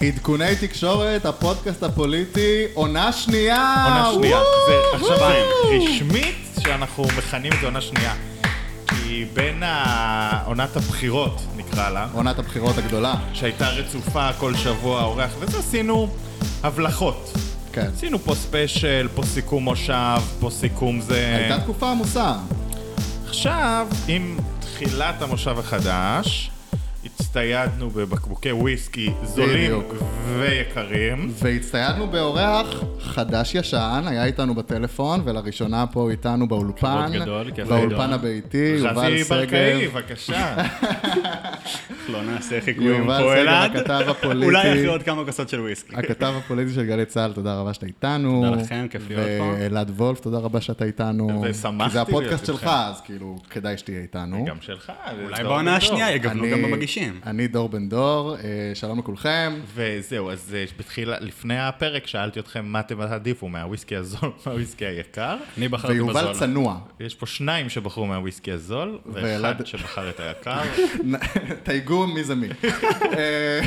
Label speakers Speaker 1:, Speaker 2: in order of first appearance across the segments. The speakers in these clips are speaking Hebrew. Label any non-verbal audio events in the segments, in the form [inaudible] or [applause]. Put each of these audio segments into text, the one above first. Speaker 1: עדכוני תקשורת, הפודקאסט הפוליטי, עונה שנייה!
Speaker 2: עונה שנייה.
Speaker 1: וואו!
Speaker 2: זה עכשיו
Speaker 1: וואו!
Speaker 2: רשמית שאנחנו מכנים את עונה שנייה. כי בין ה- עונת הבחירות, נקרא לה,
Speaker 1: עונת הבחירות הגדולה.
Speaker 2: שהייתה רצופה כל שבוע אורח, וזה עשינו הבלחות.
Speaker 1: כן.
Speaker 3: אה.
Speaker 2: עשינו פה ספיישל, פה סיכום מושב, פה סיכום זה...
Speaker 1: הייתה תקופה עמוסה.
Speaker 2: עכשיו, עם תחילת המושב החדש, הצטיידנו בבקבוקי וויסקי זולים
Speaker 1: בדיוק.
Speaker 2: ויקרים.
Speaker 1: והצטיידנו באורח חדש-ישן, היה איתנו בטלפון, ולראשונה פה הוא איתנו באולפן.
Speaker 3: כבוד גדול, כיף
Speaker 1: באולפן
Speaker 3: גדול.
Speaker 1: הביתי, יובל
Speaker 2: חזי ברקאי,
Speaker 1: שגב.
Speaker 2: בבקשה.
Speaker 3: לא נעשה חיקויים
Speaker 1: יובל
Speaker 3: פה,
Speaker 1: סגל,
Speaker 3: אלעד.
Speaker 1: הכתב
Speaker 3: אולי אחרי
Speaker 1: הפוליטי.
Speaker 3: עוד כמה כוסות של וויסקי.
Speaker 1: הכתב הפוליטי של גלי צה"ל, תודה רבה שאתה איתנו.
Speaker 3: תודה לכם, כיף להיות פה.
Speaker 1: ואלעד וולף, תודה רבה שאתה איתנו.
Speaker 2: ושמחתי
Speaker 1: כי זה הפודקאסט
Speaker 2: להיות
Speaker 1: שלך,
Speaker 2: איתכם.
Speaker 1: אז כאילו, כדאי שתהיה איתנו.
Speaker 2: גם שלך.
Speaker 3: אולי
Speaker 2: לא,
Speaker 3: בעונה השנייה יגוונו
Speaker 1: אני-
Speaker 3: גם במגישים.
Speaker 1: אני דור בן דור, אה, שלום לכולכם.
Speaker 2: וזהו, אז אה, בתחילה, לפני הפרק שאלתי אתכם מה אתם תעדיפו, מהוויסקי הזול [laughs] או מהוויסקי היקר?
Speaker 3: אני בחרתי
Speaker 1: ויובל
Speaker 3: בזול.
Speaker 1: צנוע. [laughs]
Speaker 2: יש פה שניים שבחרו מהוויסקי הזול,
Speaker 1: ואלעד-
Speaker 2: ואחד שבחר את היקר.
Speaker 1: תייגו מי זה מי. אה, [laughs]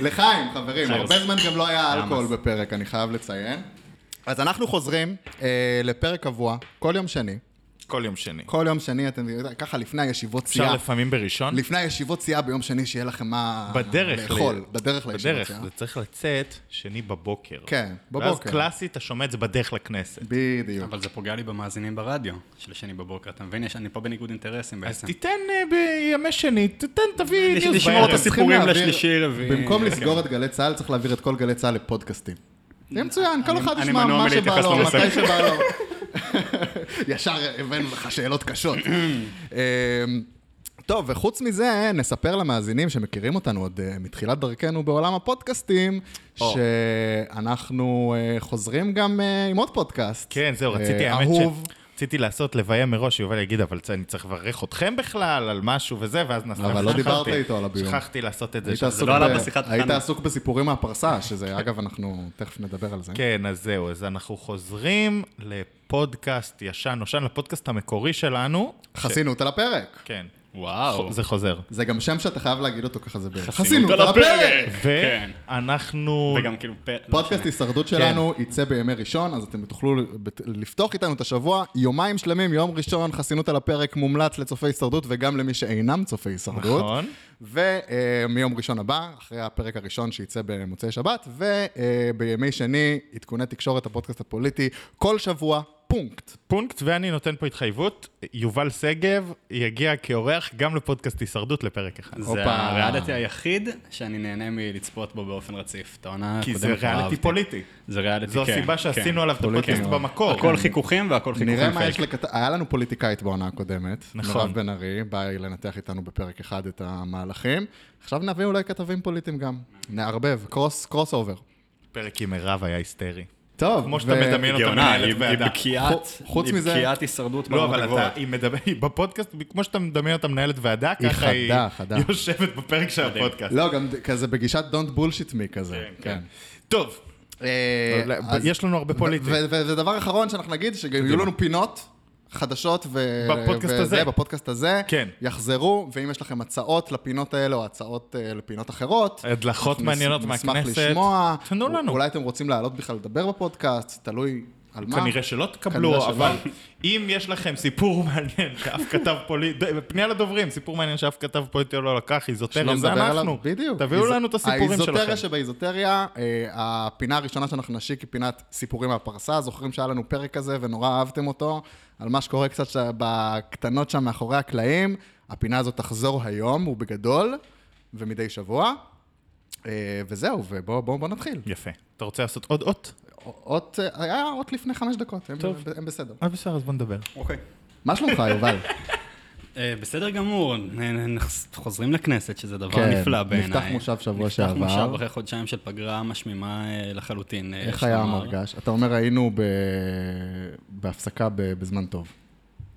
Speaker 1: לחיים, חברים,
Speaker 2: חיים.
Speaker 1: הרבה זמן גם לא היה אלכוהול בפרק, אני חייב לציין. אז אנחנו חוזרים אה, לפרק קבוע, כל יום שני.
Speaker 2: כל יום שני.
Speaker 1: [laughs] כל יום שני, אתם ככה לפני הישיבות
Speaker 2: אפשר
Speaker 1: סיעה.
Speaker 2: לפעמים בראשון?
Speaker 1: לפני הישיבות סיעה ביום שני, שיהיה לכם מה
Speaker 2: בדרך
Speaker 1: לאכול.
Speaker 2: ל-
Speaker 1: בדרך לישיבות
Speaker 2: בדרך,
Speaker 1: סיעה.
Speaker 2: זה צריך לצאת שני בבוקר.
Speaker 1: כן,
Speaker 2: ואז
Speaker 1: בבוקר.
Speaker 2: קלאסי, אתה שומע את זה בדרך לכנסת.
Speaker 1: בדיוק.
Speaker 3: אבל זה פוגע לי במאזינים ברדיו של שני בבוקר, אתה מבין? יש- אני פה בניגוד אינטרסים
Speaker 2: אז
Speaker 3: בעצם.
Speaker 2: תיתן אה, בימי שני, תיתן, תביא
Speaker 3: יש-
Speaker 2: ניוז
Speaker 3: לשמור
Speaker 2: בערב.
Speaker 3: את הסיפור. סיפורים
Speaker 1: צריכים להעביר-
Speaker 3: לשלישי, רביעי. כן.
Speaker 1: במקום לסגור את גלי צה"ל, צריך להעביר את כל גלי צה"ל לפודקאסטים. זה מצוין, כל
Speaker 3: אני-
Speaker 1: אחד
Speaker 3: אני
Speaker 1: ישמע
Speaker 3: מנוע
Speaker 1: מה שבא
Speaker 3: מלהתייחס
Speaker 1: לו,
Speaker 3: לנושא.
Speaker 1: מתי שבא
Speaker 3: [laughs]
Speaker 1: לו. ישר הבאנו לך שאלות קשות. אמ, טוב, וחוץ מזה, נספר למאזינים שמכירים אותנו עוד אה, מתחילת דרכנו בעולם הפודקאסטים,
Speaker 2: או.
Speaker 1: שאנחנו אה, חוזרים גם אה, עם עוד פודקאסט.
Speaker 2: כן, זהו, רציתי,
Speaker 1: אה,
Speaker 2: האמת
Speaker 1: אהוב.
Speaker 2: ש... רציתי לעשות לוויה מראש, יובל יגיד, אבל צא, אני צריך לברך אתכם בכלל על משהו וזה, ואז נעשה...
Speaker 1: אבל לא
Speaker 2: שכחתי.
Speaker 1: דיברת איתו על הביום.
Speaker 2: שכחתי לעשות את זה.
Speaker 1: היית
Speaker 2: שזה
Speaker 1: עסוק
Speaker 3: לא עלה
Speaker 1: ב-
Speaker 3: בשיחת
Speaker 1: היית
Speaker 3: הכנה.
Speaker 1: עסוק בסיפורים מהפרסה, שזה, אגב, אנחנו תכף נדבר על זה.
Speaker 2: כן, אז זהו, אז אנחנו חוזרים לפודקאסט ישן נושן, לפודקאסט המקורי שלנו.
Speaker 1: חסינות על הפרק.
Speaker 2: כן.
Speaker 3: וואו.
Speaker 2: זה חוזר.
Speaker 1: זה גם שם שאתה חייב להגיד אותו ככה, זה בערך.
Speaker 3: חסינות על הפרק! לא כן.
Speaker 2: ואנחנו...
Speaker 3: וגם כאילו... פ- לא
Speaker 1: פודקאסט
Speaker 3: משנה.
Speaker 1: הישרדות שלנו יצא בימי ראשון, אז אתם תוכלו בת- לפתוח איתנו את השבוע, יומיים שלמים, יום ראשון, חסינות על הפרק מומלץ לצופי הישרדות וגם למי שאינם צופי הישרדות.
Speaker 2: נכון.
Speaker 1: ומיום ראשון הבא, אחרי הפרק הראשון שייצא במוצאי שבת, ובימי שני, עדכוני תקשורת, הפודקאסט הפוליטי, כל שבוע, פונקט.
Speaker 2: פונקט, ואני נותן פה התחייבות, יובל שגב יגיע כאורח גם לפודקאסט הישרדות לפרק אחד. אוקיי,
Speaker 3: זה
Speaker 1: הופה.
Speaker 3: הריאליטי היחיד שאני נהנה מלצפות בו באופן רציף. את העונה
Speaker 2: כי
Speaker 3: הקודמת
Speaker 2: זה ריאליטי
Speaker 3: אהבתי.
Speaker 2: פוליטי.
Speaker 3: זה ריאליטי,
Speaker 2: כן. זו
Speaker 3: כן,
Speaker 2: הסיבה
Speaker 3: כן.
Speaker 2: שעשינו כן. עליו את
Speaker 1: פוליטי
Speaker 2: הפודקאסט
Speaker 1: מאוד.
Speaker 2: במקור.
Speaker 3: הכל חיכוכים והכל חיכוכים.
Speaker 1: נראה מה
Speaker 3: חלק.
Speaker 1: יש לכתב... היה לנו פוליטיקאית בעונה הקודמת.
Speaker 2: נכון.
Speaker 1: מירב בן ארי, באה לנתח איתנו בפרק אחד את המהלכים. עכשיו נביא אולי כתבים פוליטיים גם. נערבב, קרוס, קרוס אובר.
Speaker 2: פרק עם מירב היה היסטרי.
Speaker 1: טוב.
Speaker 2: כמו שאתה
Speaker 1: ו-
Speaker 2: מדמיין
Speaker 3: היא
Speaker 2: אותה
Speaker 3: גאונה,
Speaker 2: מנהלת
Speaker 3: היא היא
Speaker 2: ועדה.
Speaker 3: בקיאת,
Speaker 1: חו- חוץ
Speaker 3: היא
Speaker 1: מזה-
Speaker 3: בקיאת הישרדות
Speaker 2: לא,
Speaker 3: ברמות
Speaker 2: אבל
Speaker 3: הגבוהות.
Speaker 2: אתה, היא מדברת, היא בפודקאסט, כמו שאתה מדמיין אותה מנהלת ועדה,
Speaker 1: היא
Speaker 2: ככה היא
Speaker 1: חדה, חדה.
Speaker 2: יושבת בפרק של הפודקאסט.
Speaker 1: לא, גם ד- כזה בגישת Don't bullshit me כזה. כן.
Speaker 2: טוב,
Speaker 1: אה,
Speaker 2: אבל
Speaker 1: אז-
Speaker 2: יש לנו הרבה
Speaker 1: ו-
Speaker 2: פוליטי.
Speaker 1: ו- ו- ודבר אחרון שאנחנו נגיד, שגם יהיו לנו פינות. חדשות ו...
Speaker 2: בפודקאסט
Speaker 1: וזה,
Speaker 2: הזה.
Speaker 1: בפודקאסט הזה,
Speaker 2: כן.
Speaker 1: יחזרו, ואם יש לכם הצעות לפינות האלה או הצעות אה, לפינות אחרות,
Speaker 2: הדלחות
Speaker 1: אנחנו
Speaker 2: מעניינות
Speaker 1: נש-
Speaker 2: מהכנסת.
Speaker 1: נשמח לשמוע.
Speaker 2: תנו לנו.
Speaker 1: אולי אתם רוצים לעלות בכלל לדבר בפודקאסט, תלוי על מה.
Speaker 2: כנראה שלא
Speaker 1: כנראה
Speaker 2: תקבלו,
Speaker 1: שלא.
Speaker 2: אבל אם יש לכם סיפור [laughs] מעניין שאף כתב פוליטי, פנייה לדוברים, סיפור מעניין שאף כתב פוליטי לא לקח, איזוטריה,
Speaker 1: שלא
Speaker 2: זה
Speaker 1: נדבר עליו.
Speaker 2: אנחנו.
Speaker 1: בדיוק.
Speaker 2: תביאו
Speaker 1: איז-
Speaker 2: לנו את הסיפורים
Speaker 1: האיזוטריה
Speaker 2: שלכם.
Speaker 1: שבאיזוטריה, אה, הפינה הראשונה שאנחנו נשיק היא פינת סיפורים מהפרסה. זוכרים שהיה לנו פרק כזה ונורא אהבתם אותו, על מה שקורה קצת ש- בקטנות שם מאחורי הקלעים. הפינה הזאת תחזור היום, ובגדול, ומדי שבוע. אה, וזהו, ובואו בואו- בואו נתחיל.
Speaker 2: יפה. אתה רוצה לעשות עוד אות?
Speaker 1: אות, אה, היה אות לפני חמש דקות, הם-
Speaker 2: טוב.
Speaker 1: הם בסדר.
Speaker 2: אז אה, בסדר, אז בוא נדבר.
Speaker 3: אוקיי.
Speaker 1: מה שלומך, יובל?
Speaker 3: אה, בסדר גמור, נ- נ- נח- חוזרים לכנסת, שזה דבר
Speaker 1: כן,
Speaker 3: נפלא בעיניי.
Speaker 1: נפתח מושב שבוע
Speaker 3: נפתח
Speaker 1: שעבר.
Speaker 3: מושב אחרי חודשיים של פגרה משמימה אה, לחלוטין. אה,
Speaker 1: איך
Speaker 3: יש
Speaker 1: היה
Speaker 3: לומר.
Speaker 1: המרגש? אתה אומר, היינו ב- בהפסקה ב- בזמן טוב.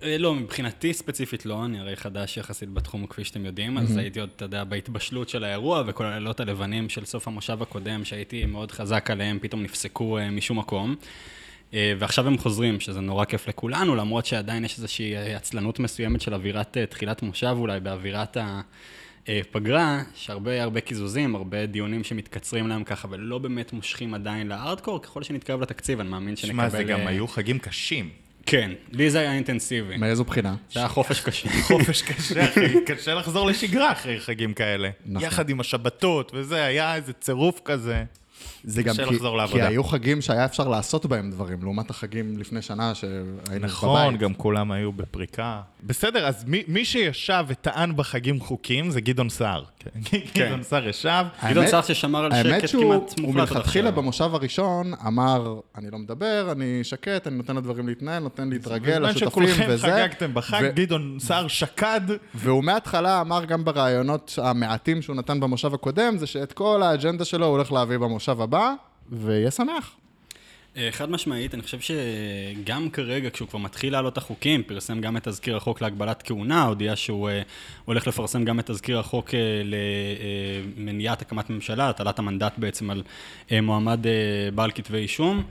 Speaker 3: אה, לא, מבחינתי ספציפית לא, אני הרי חדש יחסית בתחום, כפי שאתם יודעים, אז הייתי עוד, אתה יודע, בהתבשלות של האירוע, וכל הלילות הלבנים של סוף המושב הקודם, שהייתי מאוד חזק עליהם, פתאום נפסקו אה, משום מקום. אה, ועכשיו הם חוזרים, שזה נורא כיף לכולנו, למרות שעדיין יש איזושהי אה, עצלנות מסוימת של אווירת אה, תחילת מושב אולי, באווירת ה... אה, פגרה, שהרבה הרבה קיזוזים, הרבה דיונים שמתקצרים להם ככה, ולא באמת מושכים עדיין לארדקור, ככל שנתקרב לתקציב, אני מאמין שנקבל...
Speaker 2: שמע, זה גם
Speaker 3: אה,
Speaker 2: היו חגים קשים.
Speaker 3: כן, לי זה היה
Speaker 2: כן.
Speaker 3: אינטנסיבי.
Speaker 1: מאיזו בחינה?
Speaker 3: זה היה חופש קשה.
Speaker 2: [laughs] חופש קשה, אחי, [laughs] קשה לחזור לשגרה אחרי חגים כאלה.
Speaker 1: נכון.
Speaker 2: יחד עם השבתות וזה, היה איזה צירוף כזה.
Speaker 1: זה גם
Speaker 2: קשה
Speaker 1: כי,
Speaker 2: לחזור
Speaker 1: כי
Speaker 2: לעבודה.
Speaker 1: היו חגים שהיה אפשר לעשות בהם דברים, לעומת החגים לפני שנה שהיינו בבית.
Speaker 2: נכון, גם כולם היו בפריקה. בסדר, אז מי- מי שישב וטען בחגים חוקים זה גדעון סער. [laughs] גדעון סער ישב,
Speaker 3: גדעון
Speaker 1: האמת-
Speaker 3: סער ששמר על
Speaker 1: האמת
Speaker 3: שקט
Speaker 1: שהוא
Speaker 3: כמעט
Speaker 1: הוא
Speaker 3: מוחלט. עד
Speaker 1: מלכתחילה
Speaker 3: עכשיו.
Speaker 1: במושב הראשון אמר, אני לא מדבר, אני שקט, אני נותן לדברים להתנהל, נותן להתרגל
Speaker 2: בזמן
Speaker 1: לשותפים
Speaker 2: שכולכם
Speaker 1: וזה.
Speaker 2: חגגתם בחג,
Speaker 1: ו-
Speaker 2: גדעון סער שקד.
Speaker 1: והוא מההתחלה אמר גם בראיונות המעטים שהוא נתן במושב הקודם, זה שאת כל האג'נדה שלו הוא הולך להביא במושב הבא, ויהיה שמח.
Speaker 3: אה, חד משמעית, אני חושב שגם כרגע, כשהוא כבר מתחיל להעלות את החוקים, פרסם גם את תזכיר החוק להגבלת כהונה, הודיע שהוא אה, הולך לפרסם גם את תזכיר החוק אה, למניעת הקמת ממשלה, הטלת המנדט בעצם על אה, מועמד אה, בעל כתבי אישום.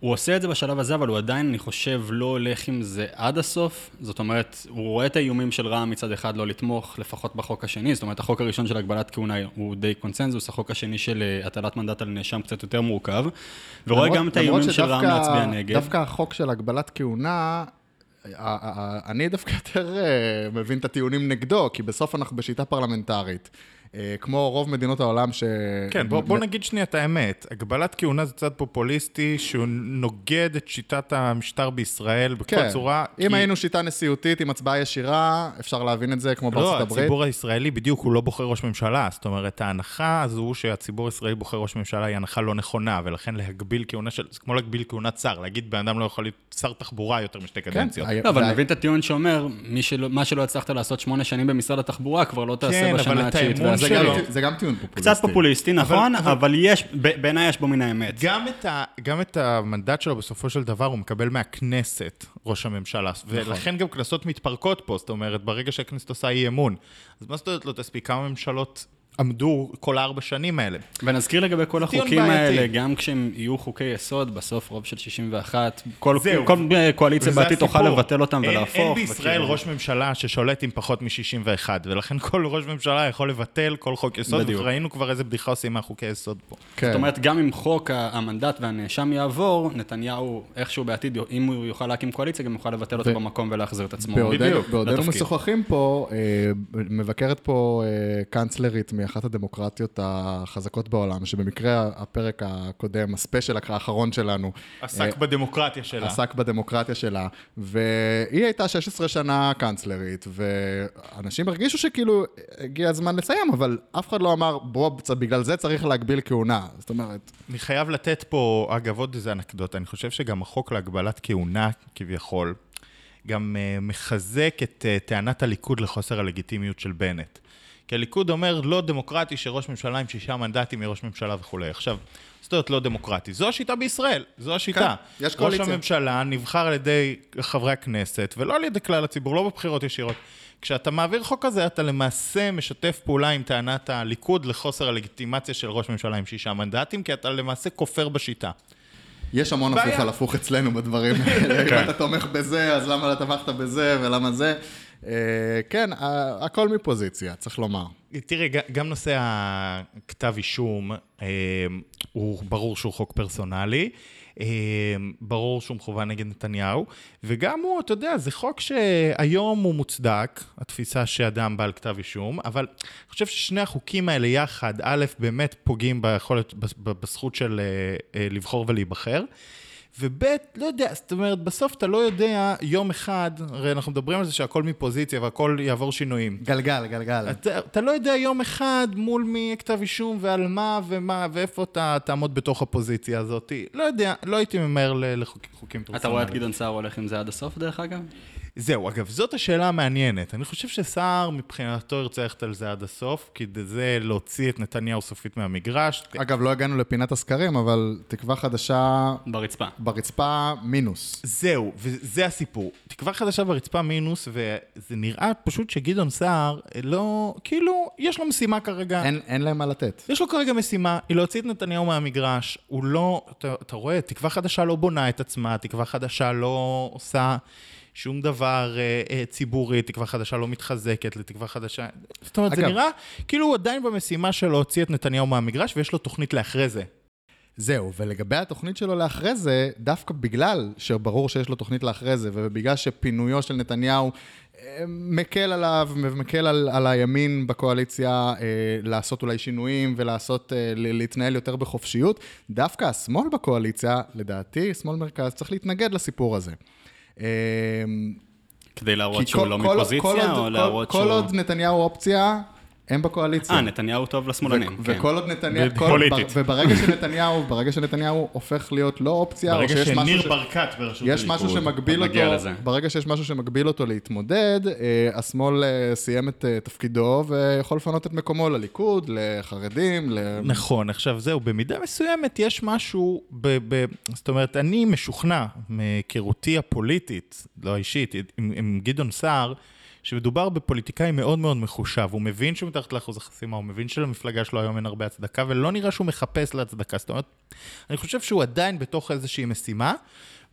Speaker 3: הוא עושה את זה בשלב הזה, אבל הוא עדיין, אני חושב, לא הולך עם זה עד הסוף. זאת אומרת, הוא רואה את האיומים של רע"מ מצד אחד לא לתמוך, לפחות בחוק השני. זאת אומרת, החוק הראשון של הגבלת כהונה הוא די קונצנזוס, החוק השני של אה, הטלת מנדט על נאשם קצת יותר מורכב. ורואה
Speaker 1: למרות-
Speaker 3: גם
Speaker 1: למרות
Speaker 3: את האיומים של
Speaker 1: שדווקא-
Speaker 3: רע"מ להצביע נגד.
Speaker 1: דווקא החוק של הגבלת כהונה, ה- ה- ה- אני דווקא יותר אה, מבין את הטיעונים נגדו, כי בסוף אנחנו בשיטה פרלמנטרית. אה, כמו רוב מדינות העולם ש...
Speaker 2: כן, בוא, בוא נגיד שנייה את האמת. הגבלת כהונה זה צעד פופוליסטי שהוא נוגד את שיטת המשטר בישראל בכל
Speaker 1: כן.
Speaker 2: צורה.
Speaker 1: אם
Speaker 2: כי-
Speaker 1: היינו שיטה נשיאותית עם הצבעה ישירה, אפשר להבין את זה כמו
Speaker 2: לא,
Speaker 1: בארצות הברית.
Speaker 2: הציבור הישראלי בדיוק, הוא לא בוחר ראש ממשלה. זאת אומרת, ההנחה הזו שהציבור הישראלי בוחר ראש ממשלה היא הנחה לא נכונה, ולכן להגביל כהונה של... זה כמו להגביל כהונת שר, להגיד בן אדם לא יכול להיות שר תחבורה יותר משתי קדנציות.
Speaker 1: כן, היה-
Speaker 3: לא, אבל
Speaker 1: וה-
Speaker 3: אני מבין את הטיעון שאומר, מי שלא- מה שלא הצלחת לעשות שמונה שנים במשרד התחבורה, כבר לא תעשה
Speaker 2: כן, אבל
Speaker 3: בשנה
Speaker 2: את
Speaker 3: התשיעית.
Speaker 2: האמון
Speaker 3: ואז
Speaker 1: זה
Speaker 3: זה גם-
Speaker 2: שלו.
Speaker 1: גם- זה גם טיעון פופוליסטי.
Speaker 3: קצת פופוליסטי, נכון,
Speaker 2: אבל-
Speaker 3: אבל יש, ב- בעיניי יש בו מן האמת.
Speaker 2: גם את, ה, גם את המנדט שלו בסופו של דבר הוא מקבל מהכנסת, ראש הממשלה,
Speaker 1: נכון.
Speaker 2: ולכן גם כנסות מתפרקות פה, זאת אומרת, ברגע שהכנסת עושה אי אמון. אז מה זאת אומרת לא תספיק? כמה ממשלות עמדו כל הארבע שנים האלה?
Speaker 3: ונזכיר לגבי כל
Speaker 2: טיעון
Speaker 3: החוקים
Speaker 2: בעייתי.
Speaker 3: האלה, גם כשהם יהיו חוקי יסוד, בסוף רוב של 61, כל
Speaker 2: זהו.
Speaker 3: כל, אה, קואליציה
Speaker 2: וזה
Speaker 3: בעתיד תוכל
Speaker 2: הסיפור.
Speaker 3: לבטל אותם
Speaker 2: אין-
Speaker 3: ולהפוך.
Speaker 2: אין בישראל
Speaker 3: וכאילו-
Speaker 2: ראש ממשלה ששולט עם פחות מ-61, ולכן כל ראש ממשלה יכול לבטל כל חוק יסוד,
Speaker 3: בדיוק.
Speaker 2: וראינו כבר איזה בדיחה עושים מהחוקי יסוד פה.
Speaker 1: כן.
Speaker 3: זאת אומרת, גם אם חוק ה- המנדט והנאשם יעבור, נתניהו איכשהו בעתיד, אם הוא יוכל להקים קואליציה, גם יוכל לבטל אותו
Speaker 1: ו-
Speaker 3: במקום ולהחזיר את עצמו.
Speaker 1: בעודנו-
Speaker 2: בדיוק,
Speaker 1: בעודנו
Speaker 3: לתפקיד.
Speaker 1: משוחחים פה, אה, מבקרת פה אה, קאנצלרית מאחת הדמוקרטיות החזקות בעולם, שבמקרה הפרק הקודם, הספיישל האחרון שלנו,
Speaker 3: אה,
Speaker 2: עסק בדמוקרטיה שלה.
Speaker 1: עסק בדמוקרטיה שלה, והיא הייתה 16 שנה קאנצלרית, ואנשים הרגישו שכאילו הגיע הזמן לסיים, אבל אף אחד לא אמר, בוא, בגלל זה צריך להגביל כהונה. זאת אומרת,
Speaker 2: אני חייב לתת פה, אגב, עוד איזה אנקדוטה. אני חושב שגם החוק להגבלת כהונה, כביכול, גם uh, מחזק את uh, טענת הליכוד לחוסר הלגיטימיות של בנט. כי הליכוד אומר, לא דמוקרטי שראש ממשלה עם שישה מנדטים יהיה ראש ממשלה וכולי. עכשיו, זאת אומרת, לא דמוקרטי. זו השיטה בישראל, זו השיטה.
Speaker 1: כן, יש קואליציה.
Speaker 2: ראש הממשלה נבחר על ידי חברי הכנסת, ולא על ידי כלל הציבור, לא בבחירות ישירות. כשאתה מעביר חוק כזה, אתה למעשה משתף פעולה עם טענת הליכוד לחוסר הלגיטימציה של ראש ממשלה עם שישה מנדטים, כי אתה למעשה כופר בשיטה.
Speaker 1: יש המון
Speaker 2: בעיה.
Speaker 1: הפוך על הפוך אצלנו [laughs] בדברים האלה. אם אתה תומך בזה, אז למה לא תמכת בזה ולמה זה? אה, כן, ה- הכל מפוזיציה, צריך לומר.
Speaker 2: תראה, ג- גם נושא הכתב אישום, אה, הוא ברור שהוא חוק פרסונלי, אה, ברור שהוא מכוון נגד נתניהו, וגם הוא, אתה יודע, זה חוק שהיום הוא מוצדק, התפיסה שאדם בעל כתב אישום, אבל אני חושב ששני החוקים האלה יחד, א', באמת פוגעים ביכולת, בז- בזכות של אה, אה, לבחור ולהיבחר. וב', לא יודע, זאת אומרת, בסוף אתה לא יודע יום אחד, הרי אנחנו מדברים על זה שהכל מפוזיציה והכל יעבור שינויים.
Speaker 1: גלגל,
Speaker 3: כן.
Speaker 1: גלגל.
Speaker 2: אתה, אתה לא יודע יום אחד מול מי כתב אישום ועל מה ומה ואיפה אתה תעמוד בתוך הפוזיציה הזאת. לא יודע, לא הייתי ממהר ל- לחוקים חוקים פרסונליים.
Speaker 3: אתה רואה את גדעון סער הולך עם זה עד הסוף, דרך אגב?
Speaker 2: זהו, אגב, זאת השאלה המעניינת. אני חושב שסער מבחינתו ירצה ללכת על זה עד הסוף, כי זה להוציא את נתניהו סופית מהמגרש.
Speaker 3: אה.
Speaker 1: אגב, לא הגענו לפינת הסקרים, אבל תקווה חדשה
Speaker 3: ברצפה.
Speaker 1: ברצפה מינוס.
Speaker 2: זהו, וזה הסיפור. תקווה חדשה ברצפה מינוס, וזה נראה פשוט שגדעון סער לא, כאילו, יש לו משימה כרגע.
Speaker 1: אין- אין להם מה לתת.
Speaker 2: יש לו כרגע משימה, היא להוציא את נתניהו מהמגרש, הוא לא, אתה, אתה רואה, תקווה חדשה לא בונה את עצמה, תקווה חדשה לא עושה שום דבר אה, אה, ציבורי, תקווה חדשה לא מתחזקת לתקווה חדשה. זאת אומרת, זה
Speaker 1: אגב-
Speaker 2: נראה כאילו הוא עדיין במשימה של להוציא את נתניהו מהמגרש, ויש לו תוכנית לאחרי זה.
Speaker 1: זהו, ולגבי התוכנית שלו לאחרי זה, דווקא בגלל שברור שיש לו תוכנית לאחרי זה, ובגלל שפינויו של נתניהו אה, מקל עליו, מקל על, על הימין בקואליציה אה, לעשות אולי שינויים ולעשות, אה, ל- להתנהל יותר בחופשיות, דווקא השמאל בקואליציה, לדעתי, שמאל מרכז, צריך להתנגד לסיפור הזה. אה,
Speaker 3: כדי
Speaker 1: כי
Speaker 3: להראות
Speaker 1: כל-
Speaker 3: שהוא לא
Speaker 1: כל- כל
Speaker 3: מפוזיציה,
Speaker 1: עוד-
Speaker 3: או
Speaker 1: כל-
Speaker 3: להראות
Speaker 1: כל
Speaker 3: שהוא...
Speaker 1: עוד נתניהו אופציה, הם בקואליציה.
Speaker 3: אה, נתניהו טוב לשמאלנים,
Speaker 1: ו-
Speaker 3: כן.
Speaker 1: וכל עוד נתניהו,
Speaker 2: ב-
Speaker 1: כל-
Speaker 2: פוליטית.
Speaker 1: בר- וברגע שנתניהו, ברגע שנתניהו הופך להיות לא אופציה, או
Speaker 2: ברגע
Speaker 1: שיש משהו,
Speaker 2: שניר
Speaker 1: ש-
Speaker 2: ברקת בראשות
Speaker 1: יש
Speaker 2: הליכוד.
Speaker 1: משהו שמגביל
Speaker 3: עוד נגיע
Speaker 1: אותו,
Speaker 3: לזה.
Speaker 1: ברגע שיש משהו שמגביל אותו להתמודד, אה, השמאל אה, סיים את אה, תפקידו ויכול לפנות את מקומו לליכוד, לחרדים, ל-
Speaker 2: נכון, עכשיו זהו, במידה מסוימת יש משהו, ב, ב, זאת אומרת, אני משוכנע מהיכרותי הפוליטית, לא האישית, עם, עם גדעון סער, שמדובר בפוליטיקאי מאוד מאוד מחושב, הוא מבין שהוא מתחת לאחוז החסימה, הוא מבין שלמפלגה שלו היום אין הרבה הצדקה, ולא נראה שהוא מחפש להצדקה, זאת אומרת, אני חושב שהוא עדיין בתוך איזושהי משימה,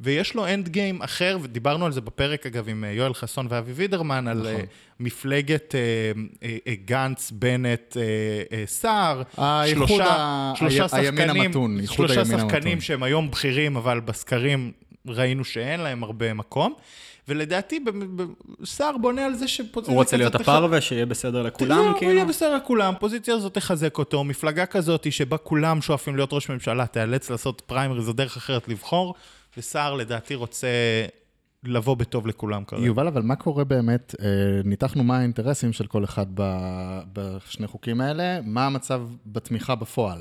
Speaker 2: ויש לו אנד גיים אחר, ודיברנו על זה בפרק אגב עם אה, יואל חסון ואבי וידרמן,
Speaker 1: נכון.
Speaker 2: על אה, מפלגת אה, אה, אה, גנץ, בנט, אה, אה, סער,
Speaker 1: האיחוד
Speaker 2: שלושה-
Speaker 1: ה-
Speaker 2: שלושה
Speaker 1: ה- הימין
Speaker 2: שחקנים-
Speaker 1: המתון, איחוד
Speaker 2: שלושה
Speaker 1: הימין המתון.
Speaker 2: שחקנים שהם היום בכירים, אבל בסקרים ראינו שאין להם הרבה מקום. ולדעתי, ב- ב- סער בונה על זה שפוזיציה
Speaker 3: הוא רוצה
Speaker 2: כזאת
Speaker 3: להיות
Speaker 2: תחת-
Speaker 3: הפרווה, שיהיה בסדר לכולם,
Speaker 2: לא, הוא
Speaker 3: כאילו.
Speaker 2: יהיה בסדר לכולם, פוזיציה הזאת תחזק אותו, מפלגה כזאת שבה כולם שואפים להיות ראש ממשלה, תיאלץ לעשות פריימריז או דרך אחרת לבחור, וסער לדעתי רוצה לבוא בטוב לכולם כרגע.
Speaker 1: יובל, אבל מה קורה באמת? אה, ניתחנו מה האינטרסים של כל אחד ב- בשני חוקים האלה, מה המצב בתמיכה בפועל?